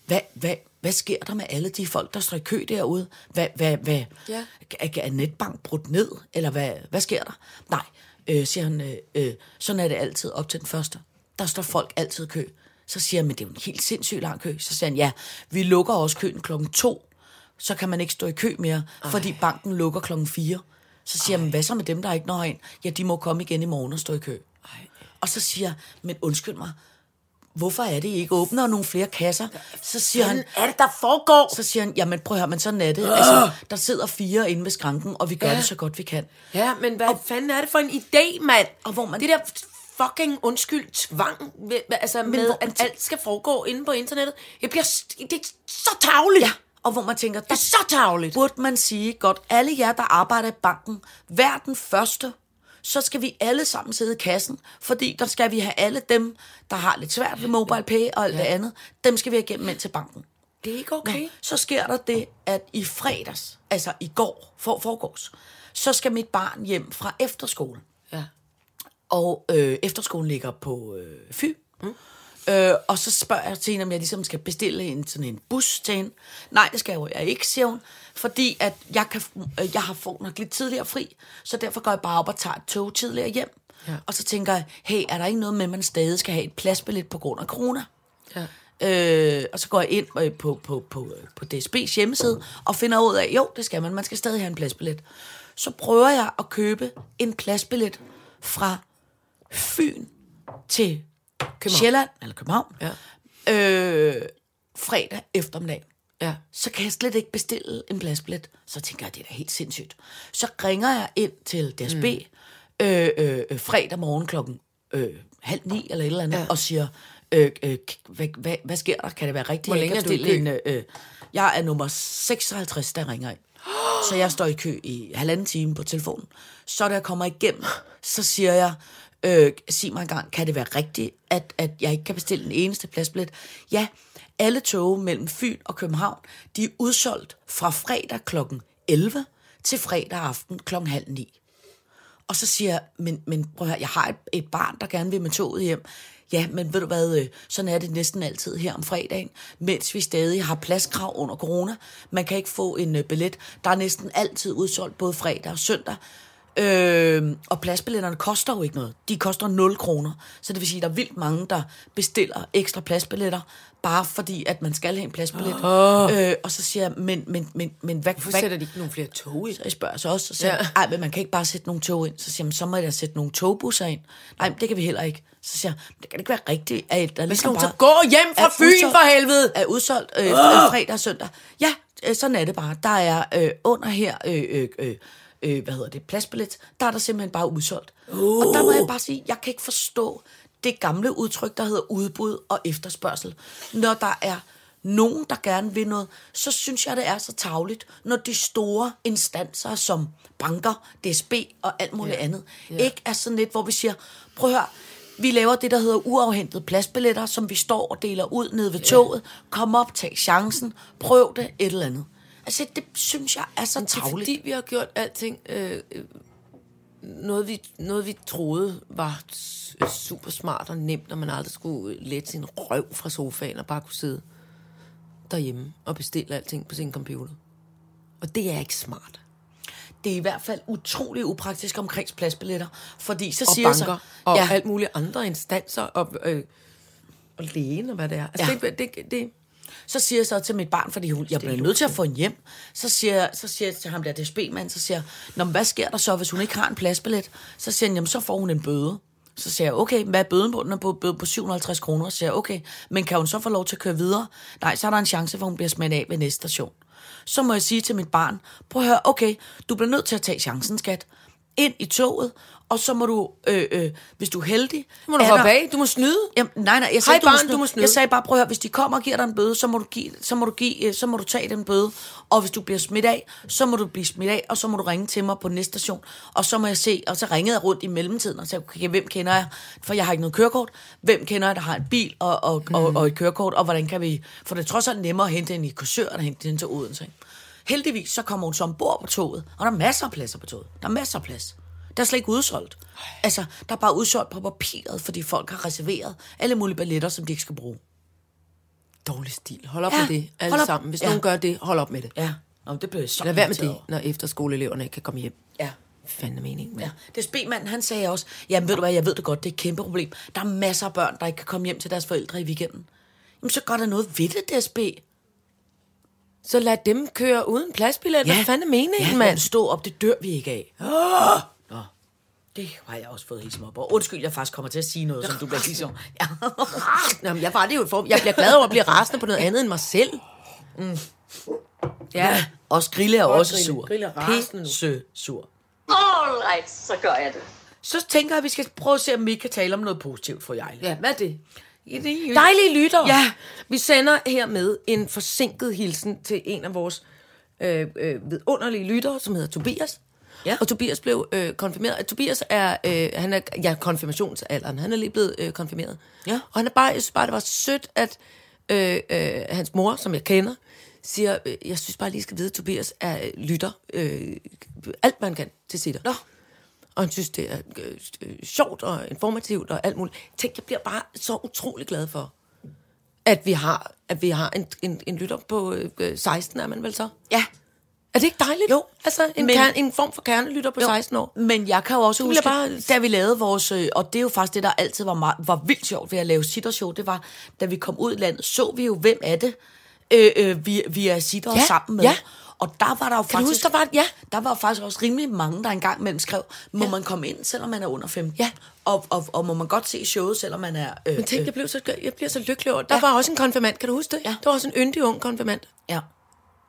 Speaker 3: hvad, hvad, hvad sker der med alle de folk, der står i kø derude? Hvad, hvad, hvad,
Speaker 4: Ja.
Speaker 3: er, er netbank brudt ned, eller hvad, hvad sker der? Nej, øh, siger han, øh, øh, sådan er det altid op til den første. Der står folk altid i kø. Så siger han, men det er jo en helt sindssygt lang kø. Så siger han, ja, vi lukker også køen klokken to, så kan man ikke stå i kø mere, Ej. fordi banken lukker klokken fire. Så siger han, hvad så med dem, der ikke når ind? Ja, de må komme igen i morgen og stå i kø. Ej. Og så siger jeg, men undskyld mig, hvorfor er det I ikke åbner nogle flere kasser? Så siger han,
Speaker 4: er det, der foregår?
Speaker 3: så siger han, jamen prøv at høre, men sådan er det. Altså, der sidder fire inde ved skranken, og vi gør ja. det så godt vi kan.
Speaker 4: Ja, men hvad og, fanden er det for en idé, mand?
Speaker 3: Og hvor man-
Speaker 4: Det der fucking undskyld tvang, ved- altså med,
Speaker 3: hvor
Speaker 4: at
Speaker 3: man tæ-
Speaker 4: alt skal foregå inde på internettet. Jeg bliver... s- Det er så tavligt.
Speaker 3: Ja, og hvor man tænker,
Speaker 4: Det er så tavligt.
Speaker 3: burde man sige godt, alle jer, der arbejder i banken, hver den første, så skal vi alle sammen sidde i kassen, fordi der skal vi have alle dem, der har lidt svært ved mobile pay og alt ja. det andet, dem skal vi have igennem ind til banken.
Speaker 4: Det er ikke okay.
Speaker 3: Nå, så sker der det, at i fredags, altså i går, for forgårs, så skal mit barn hjem fra efterskolen.
Speaker 4: Ja.
Speaker 3: Og øh, efterskolen ligger på øh, Fyn. Mm. Øh, og så spørger jeg til hende, om jeg ligesom skal bestille en, sådan en bus til hende. Nej, det skal jeg jo jeg ikke, siger hun. Fordi at jeg, kan, øh, jeg har fået nok lidt tidligere fri, så derfor går jeg bare op og tager et tog tidligere hjem. Ja. Og så tænker jeg, hey, er der ikke noget med, at man stadig skal have et pladsbillet på grund af corona?
Speaker 4: Ja.
Speaker 3: Øh, og så går jeg ind øh, på, på, på, øh, på DSB's hjemmeside og finder ud af, jo, det skal man, man skal stadig have en pladsbillet. Så prøver jeg at købe en pladsbillet fra Fyn til København. Sjælland, eller København, ja. øh, fredag eftermiddag.
Speaker 4: Ja.
Speaker 3: Så kan jeg slet ikke bestille en pladsbillet. Så tænker jeg, det er da helt sindssygt. Så ringer jeg ind til DSB mm. øh, øh, øh, fredag morgen klokken øh, halv ni eller et eller andet, ja. og siger, øh, øh, k- hvad, hvad, hvad sker der? Kan det være rigtigt?
Speaker 4: Hvor
Speaker 3: jeg kan
Speaker 4: længe er du i
Speaker 3: bestille en, øh, øh, jeg er nummer 56, der ringer ind. Så jeg står i kø i halvanden time på telefonen. Så da jeg kommer igennem, så siger jeg, øh, sig mig engang, kan det være rigtigt, at, at jeg ikke kan bestille den eneste pladsbillet? Ja, alle tog mellem Fyn og København, de er udsolgt fra fredag kl. 11 til fredag aften kl. halv 9. Og så siger jeg, men, men prøv at høre, jeg har et, et barn, der gerne vil med toget hjem. Ja, men ved du hvad, øh, sådan er det næsten altid her om fredagen, mens vi stadig har pladskrav under corona. Man kan ikke få en øh, billet. Der er næsten altid udsolgt både fredag og søndag. Øh, og pladsbilletterne koster jo ikke noget. De koster 0 kroner. Så det vil sige, at der er vildt mange, der bestiller ekstra pladsbilletter, bare fordi, at man skal have en pladsbillet. Oh. Øh, og så siger jeg, men, men, men, men hvad,
Speaker 4: Hvorfor
Speaker 3: hvad,
Speaker 4: sætter de ikke nogle flere tog ind?
Speaker 3: så jeg spørger så også, så siger ja.
Speaker 4: Ja.
Speaker 3: ej, men man kan ikke bare sætte nogle tog ind. Så siger jeg, "Men så må jeg da sætte nogle togbusser ind. Nej, men det kan vi heller ikke. Så siger jeg, "Men det kan ikke være rigtigt, at der ligesom
Speaker 4: Skal hun
Speaker 3: bare...
Speaker 4: så gå hjem fra
Speaker 3: er
Speaker 4: Fyn
Speaker 3: udsolgt-
Speaker 4: for helvede?
Speaker 3: Er udsolgt øh, fredag og søndag. Ja, øh, sådan er det bare. Der er øh, under her, øh, øh, øh, øh, hvad hedder det, pladsbillet, der er der simpelthen bare udsolgt. Uh. Og der må jeg bare sige, jeg kan ikke forstå det gamle udtryk, der hedder udbud og efterspørgsel. Når der er nogen, der gerne vil noget, så synes jeg, det er så tavligt, når de store instanser som banker, DSB og alt muligt andet, ikke er sådan lidt, hvor vi siger, prøv at høre, vi laver det, der hedder uafhentede pladsbilletter, som vi står og deler ud nede ved toget. Kom op, tag chancen, prøv det, et eller andet. Altså, det synes jeg er så
Speaker 4: Det er
Speaker 3: tavligt.
Speaker 4: fordi, vi har gjort alting... Øh, øh, noget, vi, noget, vi troede var s- super smart og nemt, og man aldrig skulle øh, lette sin røv fra sofaen og bare kunne sidde derhjemme og bestille alting på sin computer. Og det er ikke smart.
Speaker 3: det er i hvert fald utrolig upraktisk omkring pladsbilletter, fordi så
Speaker 4: Og
Speaker 3: siger jeg
Speaker 4: banker
Speaker 3: så,
Speaker 4: og
Speaker 3: ja,
Speaker 4: alt muligt andre instanser og, øh, og lægen og hvad det er. Altså,
Speaker 3: Ja.
Speaker 4: ja. det, det, det,
Speaker 3: så siger jeg så til mit barn, fordi hun, jeg bliver nødt til at få en hjem, så siger, jeg- så siger jeg til ham der DSB-mand, så siger jeg, Nå, men hvad sker der så, hvis hun ikke har en pladsbillet? Så siger han, jamen så får hun en bøde. Så siger jeg, okay, hvad er bøden på? Den er på, bøde på 750 kroner. Så siger jeg, okay, men kan hun så få lov til at køre videre? Nej, så er der en chance for, at hun bliver smidt af ved næste station. Så må jeg sige til mit barn, prøv at høre, okay, du bliver nødt til at tage chancen, skat. Ind i toget, og så må du, øh, øh, hvis du er heldig...
Speaker 4: må du
Speaker 3: er
Speaker 4: hoppe
Speaker 3: der-
Speaker 4: af. Du må snyde.
Speaker 3: Jamen, nej, nej, jeg
Speaker 4: Hej
Speaker 3: sagde,
Speaker 4: barn,
Speaker 3: snyde.
Speaker 4: du må snyde.
Speaker 3: Jeg sagde bare, prøv at høre, hvis de kommer og giver dig en bøde, så må, du give, så, må du give, øh, så må du tage den bøde. Og hvis du bliver smidt af, så må du blive smidt af, og så må du ringe til mig på næste station. Og så må jeg se, og så ringede jeg rundt i mellemtiden og sagde, okay, hvem kender jeg? For jeg har ikke noget kørekort. Hvem kender jeg, der har en bil og, og, mm. og, og et kørekort? Og hvordan kan vi... For det er trods alt nemmere at hente hende i Korsør, end at hente hende til Odense. ikke? Heldigvis så kommer hun så ombord på toget, og der er masser af pladser på toget. Der er masser af plads. Der er slet ikke udsolgt. Altså, der er bare udsolgt på papiret, fordi folk har reserveret alle mulige balletter, som de ikke skal bruge.
Speaker 4: Dårlig stil. Hold op
Speaker 3: Ja,
Speaker 4: med det, alle
Speaker 3: hold op.
Speaker 4: sammen. Hvis
Speaker 3: Ja.
Speaker 4: nogen gør det, hold op med det.
Speaker 3: Ja, Nå, men det blev jeg så
Speaker 4: Lad være med
Speaker 3: irriteret
Speaker 4: det,
Speaker 3: over.
Speaker 4: når efterskoleeleverne ikke kan komme hjem.
Speaker 3: Ja.
Speaker 4: Fanden meningen.
Speaker 3: Ja. Det spemanden, han sagde også, jamen ved du hvad, jeg ved det godt, det er et kæmpe problem. Der er masser af børn, der ikke kan komme hjem til deres forældre i weekenden. Jamen så gør der noget ved det, DSB.
Speaker 4: Så lad dem køre uden pladsbillet. Ja. Hvad fanden er meningen,
Speaker 3: ja,
Speaker 4: ja, mand?
Speaker 3: stå op, det dør vi ikke af. Oh! Nå, det har jeg også fået helt op over. Undskyld, jeg faktisk kommer til at sige noget, som du bliver lige så. Ja.
Speaker 4: Nå, men jeg var det jo for. Jeg bliver glad over at blive rasende på noget andet end mig selv. Mm. Ja.
Speaker 3: Og Grille er også
Speaker 4: Grille.
Speaker 3: sur.
Speaker 4: Grille er rasende nu.
Speaker 3: Pisse sur.
Speaker 2: All right, så gør jeg det.
Speaker 3: Så tænker jeg, at vi skal prøve at se, om vi kan tale om noget positivt for Jejle.
Speaker 4: ja, hvad er det?
Speaker 3: Ja.
Speaker 4: Dejlige lyttere.
Speaker 3: Ja.
Speaker 4: Vi sender hermed en forsinket hilsen til en af vores øh, øh, vidunderlige lyttere, som hedder Tobias.
Speaker 3: Ja.
Speaker 4: Og Tobias blev øh, konfirmeret. Tobias er, øh, han er ja, konfirmationsalderen. Han er lige blevet øh, konfirmeret.
Speaker 3: Ja.
Speaker 4: Og han er bare, jeg synes bare, det var sødt, at øh, øh, hans mor, som jeg kender, siger, øh, jeg synes bare lige, I skal vide, at Tobias er øh, lytter øh, alt, hvad han kan til sitter.
Speaker 3: Nå.
Speaker 4: Og han synes, det er øh, øh, sjovt og informativt og alt muligt. Tænk, jeg bliver bare så utrolig glad for, at vi har, at vi har en, en, en lytter på øh, øh, 16, er man vel så?
Speaker 3: Ja.
Speaker 4: Er det ikke dejligt?
Speaker 3: Jo.
Speaker 4: Altså, en,
Speaker 3: Men-
Speaker 4: men, kerne, en form for kernelytter på jo. 16 år.
Speaker 3: Men jeg kan jo også
Speaker 4: vil
Speaker 3: huske,
Speaker 4: jeg
Speaker 3: bare...
Speaker 4: bare-
Speaker 3: da vi lavede vores... øh, Og det er jo faktisk det, der altid var, meget, var vildt sjovt ved at lave sittershow. Det var, da vi kom ud i landet, så vi jo, hvem er det, øh, øh, vi, vi er sitter
Speaker 4: Ja,
Speaker 3: sammen med.
Speaker 4: ja.
Speaker 3: Og der var der jo
Speaker 4: du
Speaker 3: faktisk...
Speaker 4: huske, der var- ja.
Speaker 3: der var jo faktisk også rimelig mange, der engang mellem skrev, må ja. man komme ind, selvom man er under 15? Ja. Og, og, og må man godt se showet, selvom man er... Øh,
Speaker 4: Men tænk, jeg blev så, jeg bliver så lykkelig over. Der ja. var også en konfirmand, kan du huske det?
Speaker 3: Ja.
Speaker 4: Der var også en yndig ung konfirmand,
Speaker 3: ja.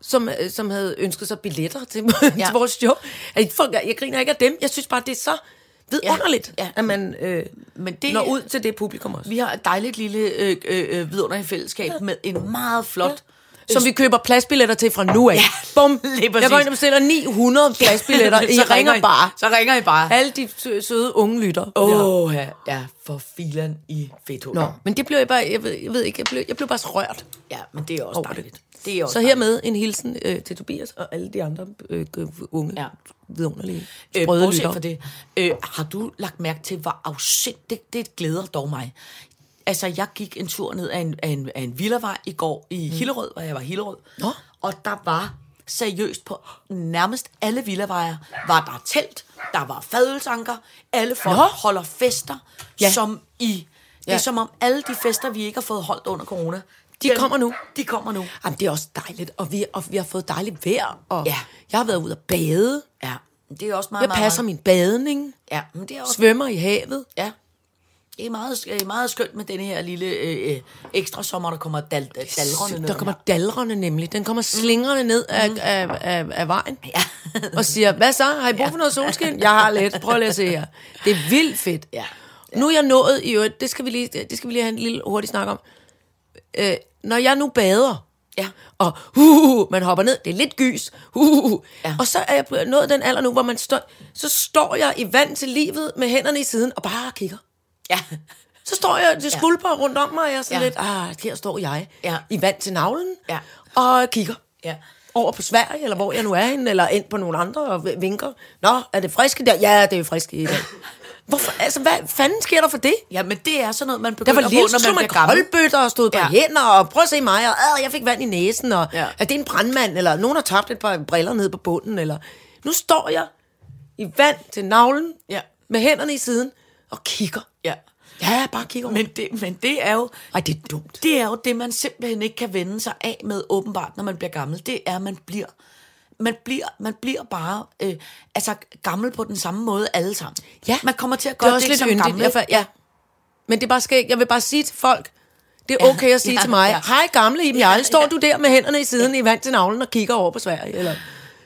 Speaker 4: som, øh, som havde ønsket sig billetter til, ja.
Speaker 3: Ja.
Speaker 4: til vores show. Altså, folk, jeg, jeg griner ikke af dem. Jeg synes bare, det er så vidunderligt,
Speaker 3: Ja.
Speaker 4: ja. Ja.
Speaker 3: Ja.
Speaker 4: at man øh,
Speaker 3: Men det-
Speaker 4: når ud til det publikum også.
Speaker 3: Vi har et dejligt lille øh, øh, øh, vidunderligt fællesskab ja. med en meget flot... Ja.
Speaker 4: Som vi køber pladsbilletter til fra nu af. Ja. Bum.
Speaker 3: lige præcis.
Speaker 4: jeg går ind og bestiller 900 pladsbilletter. I ringer, bare.
Speaker 3: Så ringer I bare.
Speaker 4: Alle de sø- søde unge lytter.
Speaker 3: Åh, ja. ja, for filan i fedt
Speaker 4: Nå, men det blev jeg bare, jeg ved, jeg ved ikke, jeg blev, jeg blev bare så rørt.
Speaker 3: Ja, men det er også
Speaker 4: Over det.
Speaker 3: dejligt. Det er også
Speaker 4: Så hermed en hilsen øh, til Tobias og alle de andre øh, øh, unge, ja.
Speaker 3: Ja.
Speaker 4: vidunderlige,
Speaker 3: Øh,
Speaker 4: sprøde øh,
Speaker 3: bortset
Speaker 4: lytter.
Speaker 3: fra det, øh, har du lagt mærke til, hvor afsindigt det, det glæder dog mig? Altså, jeg gik en tur ned af en, af en, af en villavej i går i mm. Hillerød, hvor jeg var i Hillerød.
Speaker 4: Nå.
Speaker 3: Og der var seriøst på nærmest alle villavejer, var der telt, der var fadelsanker, alle folk
Speaker 4: Nå.
Speaker 3: Nå. holder fester,
Speaker 4: Ja.
Speaker 3: ja. som i... Det er
Speaker 4: Ja.
Speaker 3: ja. som om alle de fester, vi ikke har fået holdt under corona,
Speaker 4: De kommer nu.
Speaker 3: De kommer nu.
Speaker 4: Jamen, det er også dejligt, og vi, og vi har fået dejligt vejr, og ja.
Speaker 3: Ja.
Speaker 4: jeg har været ude at bade.
Speaker 3: Ja, det er også meget,
Speaker 4: Jeg
Speaker 3: meget,
Speaker 4: passer
Speaker 3: meget,
Speaker 4: min badning,
Speaker 3: Ja, men det er også
Speaker 4: svømmer i havet.
Speaker 3: Ja. Det er meget, det er meget skønt med denne her lille øh, øh, ekstra sommer, der kommer dal, dalrende ned. Mm.
Speaker 4: Der kommer dalrene nemlig. Den kommer slingrende ned af, af, af, af vejen.
Speaker 3: Ja.
Speaker 4: og siger, hvad så? Har I brug for noget solskin? Jeg har lidt. Prøv lige at se her. Det er vildt fedt.
Speaker 3: Ja.
Speaker 4: Nu er jeg nået i øvrigt. Det skal vi lige, det skal vi lige have en lille hurtig snak om. Øh, når jeg nu bader,
Speaker 3: Ja.
Speaker 4: og uh, man hopper ned, det er lidt gys, uh, ja.
Speaker 3: Ja.
Speaker 4: og så er jeg blevet- nået den alder nu, hvor man står, så står jeg i vand til livet med hænderne i siden og bare kigger.
Speaker 3: Ja.
Speaker 4: Så står jeg til skulper rundt om mig, og jeg er sådan ja.
Speaker 3: Ja.
Speaker 4: lidt, ah, her står jeg ja.
Speaker 3: Ja.
Speaker 4: i vand til navlen,
Speaker 3: Ja.
Speaker 4: og kigger
Speaker 3: Ja.
Speaker 4: over på Sverige, eller hvor jeg nu er henne, eller ind på nogle andre og v- vinker. Nå, er det friske der? Ja, det er friske i dag. Hvorfor, altså, hvad fanden sker der for det?
Speaker 3: ja, men det er sådan noget, man
Speaker 4: Der
Speaker 3: begynder
Speaker 4: var
Speaker 3: på,
Speaker 4: lille, så
Speaker 3: når
Speaker 4: slog
Speaker 3: man
Speaker 4: man
Speaker 3: bliver gammel.
Speaker 4: koldbøtter og stod på ja.
Speaker 3: Ja.
Speaker 4: hænder, og prøv at se mig, og "Ad, jeg fik vand i næsen, og ja.
Speaker 3: Ja.
Speaker 4: er det en brandmand, eller nogen har tabt et par briller ned på bunden, eller... Nu står jeg i vand til navlen,
Speaker 3: Ja.
Speaker 4: med hænderne i siden, og kigger.
Speaker 3: Ja.
Speaker 4: Ja, jeg bare kigger
Speaker 3: Men det, men det er jo...
Speaker 4: Ej, det er dumt.
Speaker 3: Det er jo det, man simpelthen ikke kan vende sig af med åbenbart, når man bliver gammel. Det er, at man bliver... Man bliver, man bliver bare øh, altså gammel på den samme måde alle sammen.
Speaker 4: Ja.
Speaker 3: Man kommer til at
Speaker 4: Det
Speaker 3: gøre
Speaker 4: er også
Speaker 3: det
Speaker 4: lidt
Speaker 3: som
Speaker 4: yndigt.
Speaker 3: gammel.
Speaker 4: Gammel, ja. Men det er bare skægt. Jeg vil bare sige til folk, det er okay at sige ja,
Speaker 3: ja,
Speaker 4: til mig,
Speaker 3: ja.
Speaker 4: hej gamle Iben
Speaker 3: Ja,
Speaker 4: Jarl, står
Speaker 3: ja.
Speaker 4: du der med hænderne i siden i vand til navlen og kigger over på Sverige, eller ja.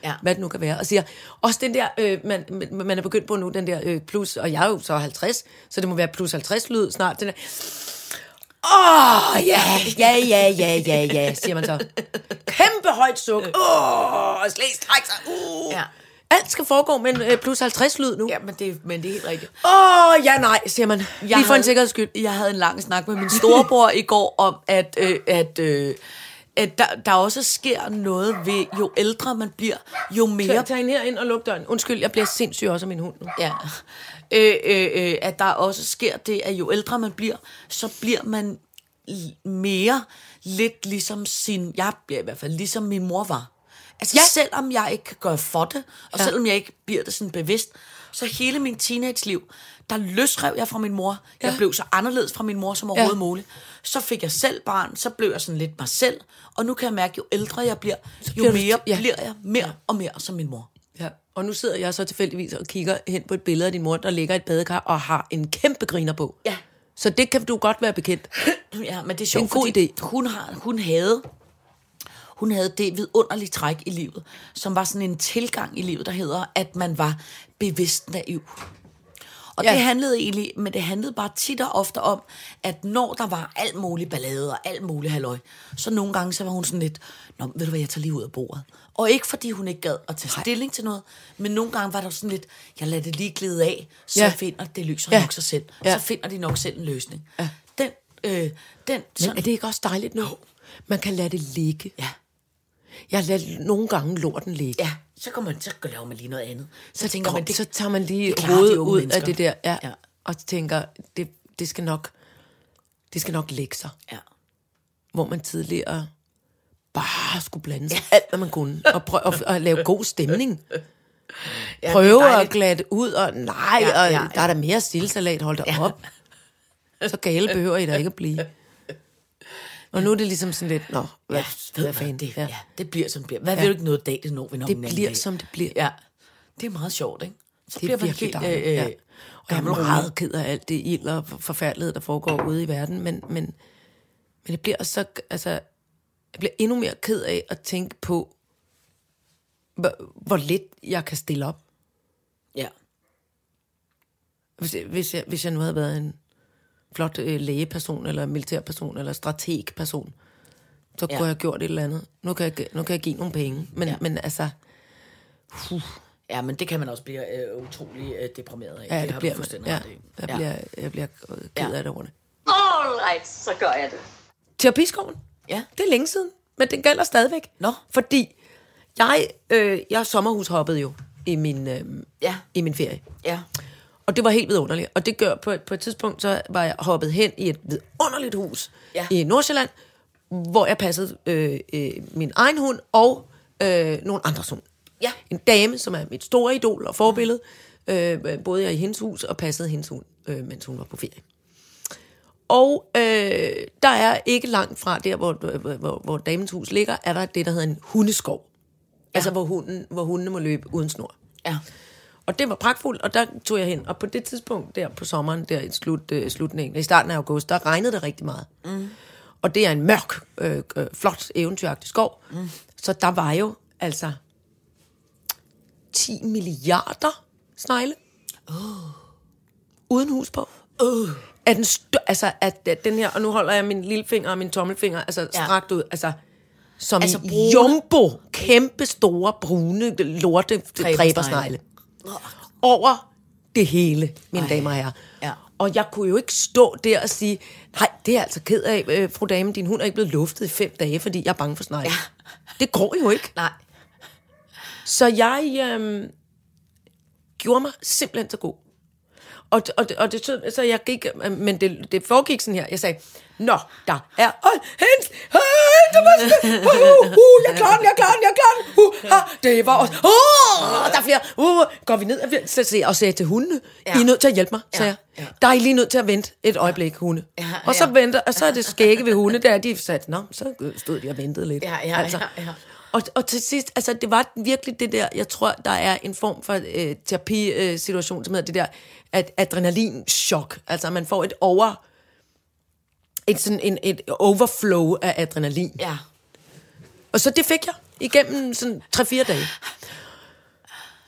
Speaker 3: Ja.
Speaker 4: hvad det nu kan være, og siger, også den der, øh, man, man- man er begyndt på nu, den der øh, plus, og jeg er jo så 50, så det må være plus 50 lyd snart, den der, åh, oh, ja, ja, ja, ja, ja, ja, siger man så. Kæmpe højt suk, åh, oh, slæs, træk sig, uh. Ja.
Speaker 3: Ja.
Speaker 4: Alt skal foregå med en øh, plus 50 lyd nu.
Speaker 3: Ja, men det, men det er helt rigtigt.
Speaker 4: Åh, oh, ja nej, siger man. Jeg Lige for havde... en
Speaker 3: havde-
Speaker 4: sikkerheds skyld.
Speaker 3: Jeg havde en lang snak med min storebror i går om, at, øh, at, øh, at der, der også sker noget ved, jo ældre man bliver, jo mere...
Speaker 4: Jeg tager hende herind og luk døren. Undskyld, jeg bliver sindssyg også af min hund nu.
Speaker 3: Ja. Øh, øh, øh, at der også sker det, at jo ældre man bliver, så bliver man l- mere lidt ligesom sin... Jeg bliver i hvert fald ligesom min mor var. Altså
Speaker 4: Ja.
Speaker 3: ja. selvom jeg ikke kan gøre for det, og
Speaker 4: Ja.
Speaker 3: ja. selvom jeg ikke bliver det sådan bevidst, så hele min teenage-liv, der løsrev jeg fra min mor. Jeg
Speaker 4: Ja.
Speaker 3: blev så anderledes fra min mor som overhovedet muligt. Så fik jeg selv barn, så blev jeg sådan lidt mig selv, og nu kan jeg mærke, jo ældre jeg bliver,
Speaker 4: bliver
Speaker 3: jo
Speaker 4: du-
Speaker 3: mere
Speaker 4: ja.
Speaker 3: bliver jeg mere og mere som min mor.
Speaker 4: Ja. Og nu sidder jeg så tilfældigvis og kigger hen på et billede af din mor, der ligger i et badekar og har en kæmpe griner på.
Speaker 3: Ja.
Speaker 4: Så det kan du godt være bekendt.
Speaker 3: Ja, men det er sjovt,
Speaker 4: en god
Speaker 3: fordi Hun, har, hun havde hun havde det vidunderlige træk i livet, som var sådan en tilgang i livet, der hedder, at man var bevidst naiv. Og
Speaker 4: Ja.
Speaker 3: ja. det handlede egentlig, men det handlede bare tit og ofte om, at når der var alt muligt ballade og alt muligt halløj, så nogle gange så var hun sådan lidt, Nå, ved du hvad, jeg tager lige ud af bordet. Og ikke fordi hun ikke gad at tage stilling til noget, men nogle gange var der sådan lidt, jeg lader det lige glide af, så
Speaker 4: Ja.
Speaker 3: ja. finder det løser
Speaker 4: Ja.
Speaker 3: ja. nok sig selv.
Speaker 4: Ja.
Speaker 3: Ja. Så finder de nok selv en løsning. Ja. Den, øh, den,
Speaker 4: Men
Speaker 3: sådan,
Speaker 4: er det ikke også dejligt nu? Man kan lade det ligge.
Speaker 3: ja,
Speaker 4: Jeg lader nogle gange lorten ligge.
Speaker 3: ja, så kommer man, så laver man lige noget andet. Så, så tænker
Speaker 4: Kom,
Speaker 3: man, det,
Speaker 4: så tager man lige
Speaker 3: klarer de
Speaker 4: hovedet
Speaker 3: unge
Speaker 4: ud af
Speaker 3: mennesker.
Speaker 4: det der. Ja. ja.
Speaker 3: Ja.
Speaker 4: Og tænker, det, det skal nok det skal nok lægge sig.
Speaker 3: ja.
Speaker 4: hvor man tidligere bare skulle blande sig alt, hvad man kunne, og, prøve, og, og lave god stemning.
Speaker 3: Ja,
Speaker 4: Prøve
Speaker 3: det er
Speaker 4: at
Speaker 3: dejligt.
Speaker 4: glatte ud, og nej, ja,
Speaker 3: Ja,
Speaker 4: ja,
Speaker 3: ja,
Speaker 4: ja. og der er der mere stillesalat, hold da ja. op. Så gale behøver I da ikke at blive. Og nu er det ligesom sådan lidt, nå, hvad, ja,
Speaker 3: ved
Speaker 4: hvad
Speaker 3: man,
Speaker 4: fanden.
Speaker 3: Det,
Speaker 4: ja.
Speaker 3: ja. ja, det bliver, som det bliver. Hvad ja. vil du ikke noget dag, det når vi nok
Speaker 4: Det
Speaker 3: en anden
Speaker 4: bliver,
Speaker 3: dag.
Speaker 4: som det bliver.
Speaker 3: Ja, det er meget sjovt, ikke? Så
Speaker 4: Det er
Speaker 3: man
Speaker 4: virkelig
Speaker 3: helt,
Speaker 4: dejligt. Øh, ja. Og jeg er
Speaker 3: gammel
Speaker 4: meget ked af alt det ild og for- forfærdelighed, der foregår ude i verden, men, men, men det bliver også så, altså, jeg bliver endnu mere ked af at tænke på, hvor, hvor lidt jeg kan stille op.
Speaker 3: Ja.
Speaker 4: Hvis, jeg- hvis, jeg, hvis jeg nu havde været en flot øh, lægeperson, eller militærperson, eller strategperson, så ja.
Speaker 3: Ja.
Speaker 4: kunne jeg have gjort et eller andet. Nu kan jeg, gi- nu kan jeg give nogle penge, men, ja.
Speaker 3: Ja.
Speaker 4: men altså,
Speaker 3: ja, men det kan man også blive øh, utrolig øh, deprimeret af.
Speaker 4: ja, det,
Speaker 3: har
Speaker 4: det
Speaker 3: du
Speaker 4: bliver,
Speaker 3: fuldstændig
Speaker 4: ja,
Speaker 3: ret i.
Speaker 4: jeg, bliver, jeg bliver ked
Speaker 3: Ja.
Speaker 4: af det over det.
Speaker 2: All right, så gør jeg det.
Speaker 4: Terapiskoven?
Speaker 3: Ja.
Speaker 4: Det er længe siden, men den gælder stadigvæk.
Speaker 3: Nå.
Speaker 4: Fordi jeg, øh, jeg sommerhushoppede jo i min, øh,
Speaker 3: Ja.
Speaker 4: i min ferie.
Speaker 3: ja.
Speaker 4: Og det var helt vidunderligt. Og det gør, på et, på et tidspunkt, så var jeg hoppet hen i et vidunderligt hus
Speaker 3: Ja.
Speaker 4: i Nordsjælland, hvor jeg passede øh, øh, min egen hund og øh, nogle andres hund.
Speaker 3: Ja.
Speaker 4: En dame, som er mit store idol og forbillede, øh, boede jeg i hendes hus og passede hendes hund, øh, mens hun var på ferie. Og øh, der er ikke langt fra der, hvor, hvor, hvor, hvor damens hus ligger, er der det, der hedder en hundeskov. Ja. Altså, hvor, hunden, hvor hundene må løbe uden snor.
Speaker 3: Ja.
Speaker 4: Og det var pragtfuldt, og der tog jeg hen. Og på det tidspunkt der på sommeren, der i slut, øh, slutningen, i starten af august, der regnede det rigtig meget. Mm. Og det er en mørk, øh, øh, flot, eventyragtig skov. Mm. Så der var jo altså 10 milliarder snegle. Oh. Uden hus på. Oh. At den stø- altså, at, at den her, og nu holder jeg min lillefinger og min tommelfinger, altså ja.
Speaker 3: Ja.
Speaker 4: strakt ud, altså som altså,
Speaker 3: Altså brune-
Speaker 4: jumbo, kæmpe store, brune, lorte, dræbersnegle over det hele, mine Ej.
Speaker 3: Ej.
Speaker 4: damer og herrer.
Speaker 3: Ja.
Speaker 4: Og jeg kunne jo ikke stå der og sige, nej, det er jeg altså ked af, øh, fru dame, din hund er ikke blevet luftet i fem dage, fordi jeg er bange for snegle. Ja. Det går jo ikke.
Speaker 3: Nej.
Speaker 4: Så jeg øh, gjorde mig simpelthen så god. Og, og, og det, så, så jeg gik, øh, men det, det foregik sådan her. Jeg sagde, nå, der er, åh, hens, hej, der var spil, uh, uh, jeg klarer den, jeg klarer den, jeg klarer den, uh, ha, det var også, uh, der er flere, uh, går vi ned, og vi- så sagde jeg, og sagde til hundene, ja.
Speaker 3: Ja.
Speaker 4: I er nødt til at hjælpe mig, sagde
Speaker 3: Ja,
Speaker 4: jeg. Der er I lige nødt til at vente et øjeblik, hunde.
Speaker 3: Ja,
Speaker 4: og så
Speaker 3: ja.
Speaker 4: venter, og så er det skægge ved hunde, der de sagde, nå, så stod de og ventede lidt. Altså,
Speaker 3: Ja, ja, ja, ja.
Speaker 4: Og, og til sidst, altså det var virkelig det der, jeg tror, der er en form for øh, terapisituation, øh, situation, som hedder det der at adrenalinchok. Altså man får et over... Et, sådan en, et overflow af adrenalin.
Speaker 3: Ja.
Speaker 4: Og så det fik jeg igennem sådan 3-4 dage.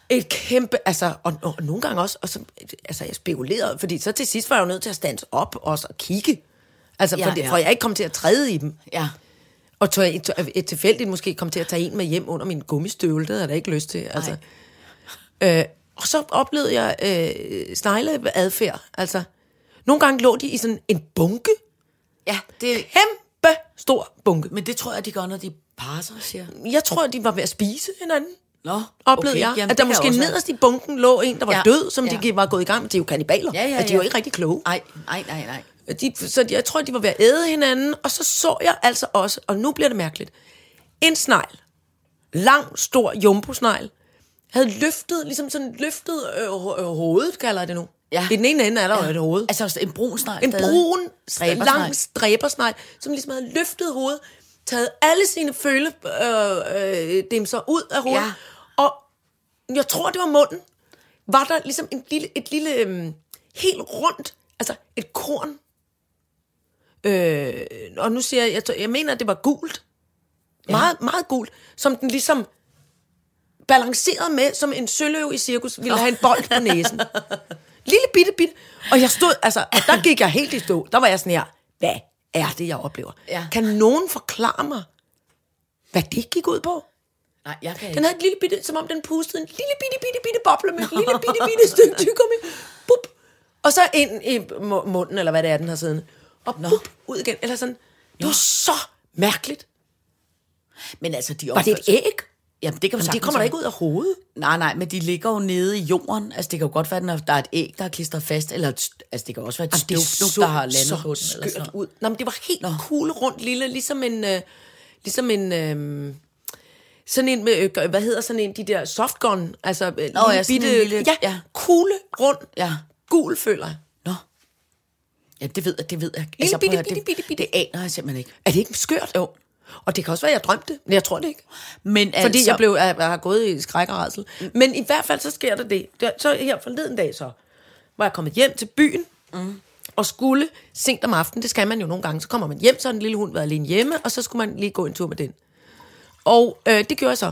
Speaker 4: Et kæmpe, altså, og, og nogle gange også, og så, altså jeg spekulerede, fordi så til sidst var jeg jo nødt til at stands op og så kigge. Altså, ja,
Speaker 3: Ja,
Speaker 4: for, ja.
Speaker 3: ja.
Speaker 4: for jeg ikke kom til at træde i dem.
Speaker 3: Ja.
Speaker 4: Og tør jeg, tør, jeg tilfældigt måske kom til at tage en med hjem under min gummistøvle, det havde jeg da ikke lyst til. Altså. Øh, og så oplevede jeg øh, snegleadfærd. Altså, nogle gange lå de i sådan en bunke.
Speaker 3: Ja, det,
Speaker 4: Kæmpe stor bunke.
Speaker 3: men det tror jeg, de gør, når de parer sig, siger jeg.
Speaker 4: Jeg tror, de var ved at spise hinanden.
Speaker 3: Nå,
Speaker 4: Oplevede okay, jeg,
Speaker 3: jamen,
Speaker 4: at der
Speaker 3: det kan
Speaker 4: måske
Speaker 3: også være.
Speaker 4: nederst i bunken lå en, der var ja,
Speaker 3: Ja,
Speaker 4: død, som ja.
Speaker 3: ja.
Speaker 4: de var gået i gang med. De er jo kannibaler,
Speaker 3: Ja, ja,
Speaker 4: og de er jo
Speaker 3: ja.
Speaker 4: ikke rigtig kloge.
Speaker 3: Nej, nej, nej, nej.
Speaker 4: Øh, De, så de, jeg tror, de var ved at æde hinanden, og så så jeg altså også, og nu bliver det mærkeligt, en snegl, lang, stor jumbo-snegl, havde løftet, ligesom sådan løftet øh, ho- øh, hovedet, kalder jeg det nu.
Speaker 3: Ja.
Speaker 4: I den ene ende er der jo et hoved.
Speaker 3: Altså en brun snegl.
Speaker 4: En
Speaker 3: stadig.
Speaker 4: brun,
Speaker 3: Dræbersnegl.
Speaker 4: lang stræbersnegl, som ligesom havde løftet hovedet, taget alle sine føle, øh, øh, dem så ud af hovedet,
Speaker 3: Ja.
Speaker 4: og jeg tror, det var munden, var der ligesom en lille, et lille, øhm, helt rundt, altså et korn. Øh, og nu siger jeg, jeg, tror- jeg mener, at det var gult. Meget, meget gult, som den ligesom balancerede med, som en søløv i cirkus ville have en bold på næsen. Lille bitte, bitte. Og jeg stod, altså, og der gik jeg helt i stå. Der var jeg sådan her, hvad er det, jeg oplever?
Speaker 3: Ja.
Speaker 4: Kan nogen forklare mig, hvad det gik ud på?
Speaker 3: Nej, jeg kan
Speaker 4: Den
Speaker 3: ikke.
Speaker 4: havde et lille bitte, som om den pustede en lille bitte, bitte, bitte boble med et lille bitte, bitte stykke tyggegummi. Bup. Og så ind i mu- munden, eller hvad det er, den har siddende. Og bup, ud igen. Eller sådan. Det var så mærkeligt.
Speaker 3: Men altså, de
Speaker 4: Var det et
Speaker 3: opfører sig-
Speaker 4: æg?
Speaker 3: Jamen, det kan man
Speaker 4: Men det kommer da ikke ud af hovedet.
Speaker 3: Nej, nej, men de ligger jo nede i jorden. Altså, det kan jo godt være, at der er et æg, der er klistret fast, eller et, st- altså, det kan også være et
Speaker 4: det
Speaker 3: støvklub, der har landet
Speaker 4: så
Speaker 3: på den. Eller sådan
Speaker 4: skørt
Speaker 3: noget.
Speaker 4: ud. Nå, men det var helt cool rundt lille, ligesom en... Øh, ligesom en øh, sådan en med, øh, hvad hedder sådan en, de der softgun, altså øh, lille
Speaker 3: ja, sådan en lille-
Speaker 4: ja,
Speaker 3: ja.
Speaker 4: kugle, rund,
Speaker 3: Ja.
Speaker 4: gul føler jeg.
Speaker 3: Nå. Ja, det ved jeg, det ved jeg. Altså, prøv at
Speaker 4: bitte,
Speaker 3: høre,
Speaker 4: bitte, bitte, bitte.
Speaker 3: det, det aner jeg simpelthen ikke.
Speaker 4: Er det ikke skørt? Jo. Og det kan også være, at jeg drømte det, men jeg tror det ikke.
Speaker 3: Men
Speaker 4: Fordi
Speaker 3: altså,
Speaker 4: jeg, blev, jeg, jeg har gået i skræk og rædsel. Men i hvert fald så sker der det. Der- Så her forleden dag så, var jeg kommet hjem til byen, mm. og skulle sent om aftenen, det skal man jo nogle gange, så kommer man hjem, så har den lille hund været alene hjemme, og så skulle man lige gå en tur med den. Og øh, det gjorde jeg så.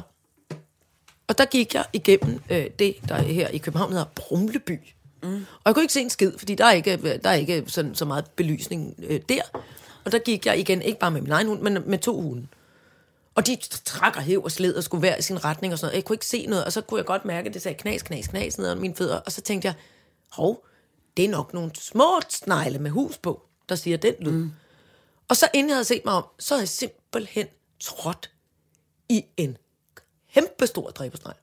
Speaker 4: Og der gik jeg igennem øh, det, der her i København hedder Brumleby. Mm. Og jeg kunne ikke se en skid, fordi der er ikke, øh, der er ikke sådan, så meget belysning øh, der. Og der gik jeg igen, ikke bare med min egen hund, men med to hunde. Og de trak og hæv og sled og skulle hver i sin retning og sådan noget. Jeg kunne ikke se noget, og så kunne jeg godt mærke, at det sagde knas, knas, knas ned ad mine fødder. Og så tænkte jeg, hov, det er nok nogle små snegle med hus på, der siger den lyd. Mm. Og så inden jeg havde set mig om, så havde jeg simpelthen trådt i en kæmpestor dræbersnegl.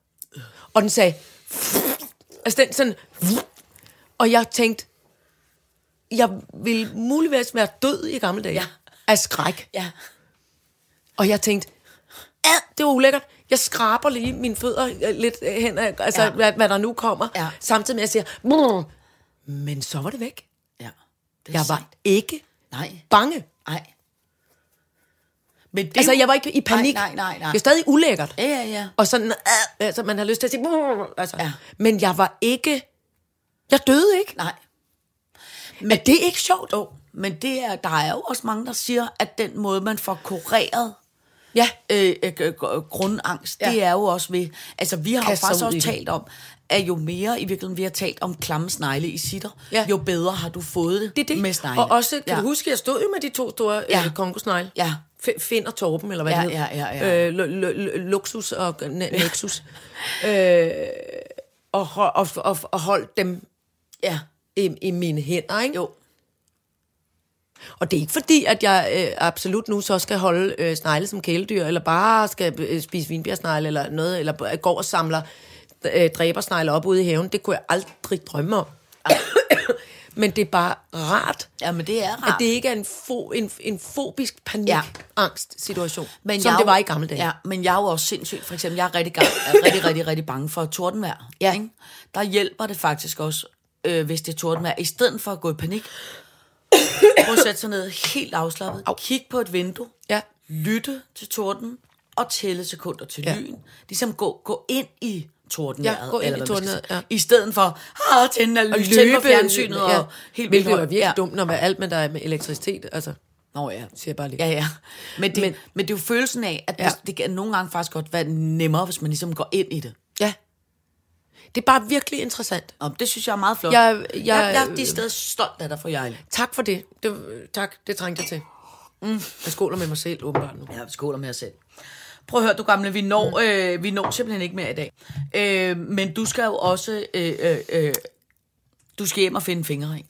Speaker 4: Og den sagde, altså den sådan, og jeg tænkte, jeg ville muligvis være død i gamle dage.
Speaker 3: Ja.
Speaker 4: Af skræk.
Speaker 3: Ja.
Speaker 4: Og jeg tænkte, ad, det var ulækkert. Jeg skraber lige mine fødder øh, lidt øh, hen, ad- altså ja.
Speaker 3: Ja.
Speaker 4: hvad, hvad der nu kommer,
Speaker 3: Ja.
Speaker 4: samtidig med at jeg siger, "Brr." men så var det væk.
Speaker 3: ja. Det er
Speaker 4: Jeg var
Speaker 3: sejt.
Speaker 4: ikke
Speaker 3: Nej,
Speaker 4: bange.
Speaker 3: nej. Men det er
Speaker 4: Altså,
Speaker 3: jo-
Speaker 4: jeg var ikke i panik.
Speaker 3: Nej, nej, nej. nej.
Speaker 4: Det er stadig ulækkert.
Speaker 3: Ja, ja, ja.
Speaker 4: Og sådan, "Ah," altså, man har lyst til at sige, "Brr," altså.
Speaker 3: Ja.
Speaker 4: men jeg var ikke, jeg døde ikke.
Speaker 3: Nej.
Speaker 4: Men er det ikke sjovt?
Speaker 3: Jo, men det er, der er jo også mange, der siger, at den måde, man får kureret
Speaker 4: Ja,
Speaker 3: øh, øh, øh, grundangst,
Speaker 4: Ja.
Speaker 3: ja. det er jo også ved... Altså, vi har jo
Speaker 4: Kaste sig
Speaker 3: faktisk
Speaker 4: ud i
Speaker 3: også
Speaker 4: det.
Speaker 3: talt om, at jo mere i virkeligheden vi har talt om klamme snegle i sitter,
Speaker 4: Ja.
Speaker 3: ja. jo bedre har du fået det,
Speaker 4: det er det.
Speaker 3: med snegle.
Speaker 4: og også, kan
Speaker 3: ja.
Speaker 4: du huske, jeg stod jo med de to store ja.
Speaker 3: Ja.
Speaker 4: øh, kongosnegle.
Speaker 3: Ja.
Speaker 4: F- Finn og Torben, eller hvad
Speaker 3: Ja,
Speaker 4: det hedder.
Speaker 3: ja, ja, ja.
Speaker 4: Øh, lu- lu- lu- luksus og n- Nexus. øh, og, ho- og, og, og holdt dem
Speaker 3: Ja,
Speaker 4: i, i mine hænder, ikke?
Speaker 3: jo.
Speaker 4: Og det er ikke fordi, at jeg øh, absolut nu så skal holde øh, snegle som kæledyr, eller bare skal øh, spise vinbjergsnegle, eller noget, eller b- går og samler øh, dræbersnegle op ude i haven. Det kunne jeg aldrig drømme om. Men det er bare rart,
Speaker 3: Ja, men det er rart.
Speaker 4: at det ikke er en, fo, en, en fobisk
Speaker 3: Ja.
Speaker 4: panikangst-situation,
Speaker 3: Men
Speaker 4: som
Speaker 3: jeg er
Speaker 4: det
Speaker 3: jo-
Speaker 4: var i gamle dage.
Speaker 3: Ja, men jeg er jo også sindssygt. For eksempel, jeg er rigtig, gang, er rigtig, rigtig, rigtig bange for tordenvejr.
Speaker 4: Ja.
Speaker 3: Ikke? Der hjælper det faktisk også, øh, hvis det er tordenvejr. I stedet for at gå i panik, prøv at sætte sig ned helt afslappet. Kig på et vindue.
Speaker 4: Ja.
Speaker 3: Lytte til torden og tælle sekunder til
Speaker 4: Ja.
Speaker 3: ja. lyn. Ligesom gå, gå ind i tordenvejret.
Speaker 4: Ja, gå ind
Speaker 3: eller
Speaker 4: i
Speaker 3: hvad man skal
Speaker 4: tordenvejret,
Speaker 3: sige.
Speaker 4: ja.
Speaker 3: I stedet for, at tænde af lys, tænde for fjernsynet.
Speaker 4: ja.
Speaker 3: Og helt
Speaker 4: Hvilket
Speaker 3: vildt
Speaker 4: jo er
Speaker 3: højt.
Speaker 4: virkelig ja. dumt, når man alt med der er med elektricitet, altså,
Speaker 3: Nå ja,
Speaker 4: siger jeg bare lige.
Speaker 3: Ja, ja. Men det,
Speaker 4: Men-
Speaker 3: men, men det er jo følelsen af, at
Speaker 4: Ja.
Speaker 3: ja. det, det kan nogle gange faktisk godt være nemmere, hvis man ligesom går ind i det.
Speaker 4: ja. Det er bare virkelig interessant.
Speaker 3: Og det synes jeg er meget flot.
Speaker 4: Jeg- jeg-
Speaker 3: jeg, jeg er de steder stolt af dig for, Jejle.
Speaker 4: Tak for det. det tak, det trængte jeg til. Mm. Jeg skåler med mig selv åbenbart nu.
Speaker 3: Jeg skåler med os selv. Prøv at høre, du gamle, vi når,
Speaker 4: Mm.
Speaker 3: øh, vi når simpelthen ikke mere i dag. Øh, men du skal jo også, øh, øh, øh, du skal hjem og finde fingre, ikke?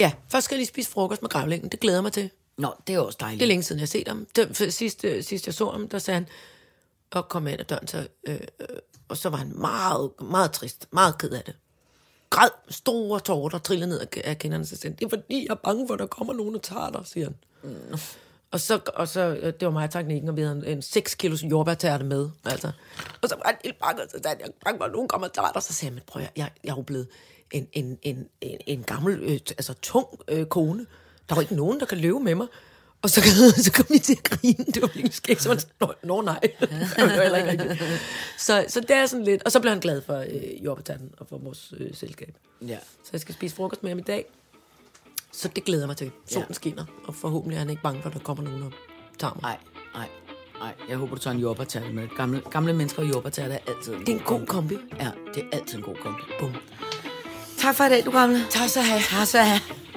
Speaker 4: Ja, først skal jeg lige spise frokost med gravlingen. Det glæder jeg mig til.
Speaker 3: Nå, det er også dejligt.
Speaker 4: Det er længe siden, jeg har set ham. Det, for sidst, øh, sidst jeg så ham, der sagde han, og kom ind ad døren, så, øh, øh, og så var han meget, meget trist, meget ked af det. Græd, store tårer, der trillede ned af- af kinderne, så sagde han, det er fordi, jeg er bange for, at der kommer nogen og tager dig, siger han. Mm. Og så, og så, øh, det var mig og teknikken, og vi havde en, en 6 kilos jordbærtærte med, altså. Og så var han helt bange, og så sagde han, jeg er bange for, at nogen kommer og tager dig. Så sagde jeg, men prøv at, høre, jeg, jeg er jo blevet en, en, en, en, en gammel, øh, t- altså tung øh, kone. Der var ikke nogen, der kan løbe med mig. Og så, så kom vi til at grine. Det var virkelig skægt. Så var han sådan, "Nå, nå, nej. Det var heller ikke rigtigt. Så, så det er sådan lidt... Og så blev han glad for øh, jordbærtanden og for vores øh, selskab.
Speaker 3: Ja.
Speaker 4: Så jeg skal spise frokost med ham i dag. Så det glæder jeg mig til. Solen
Speaker 3: Ja.
Speaker 4: skinner, og forhåbentlig er han ikke bange for, at der kommer nogen og tager mig.
Speaker 3: Nej, nej, nej. Jeg håber, du tager en jordbærtærte med. Gamle, gamle mennesker og jordbærtærte er altid
Speaker 4: Det er en god kombi.
Speaker 3: Ja, det er altid en god kombi.
Speaker 4: Bum.
Speaker 3: Tak for i dag, du gamle. Tak så have. Tak så have.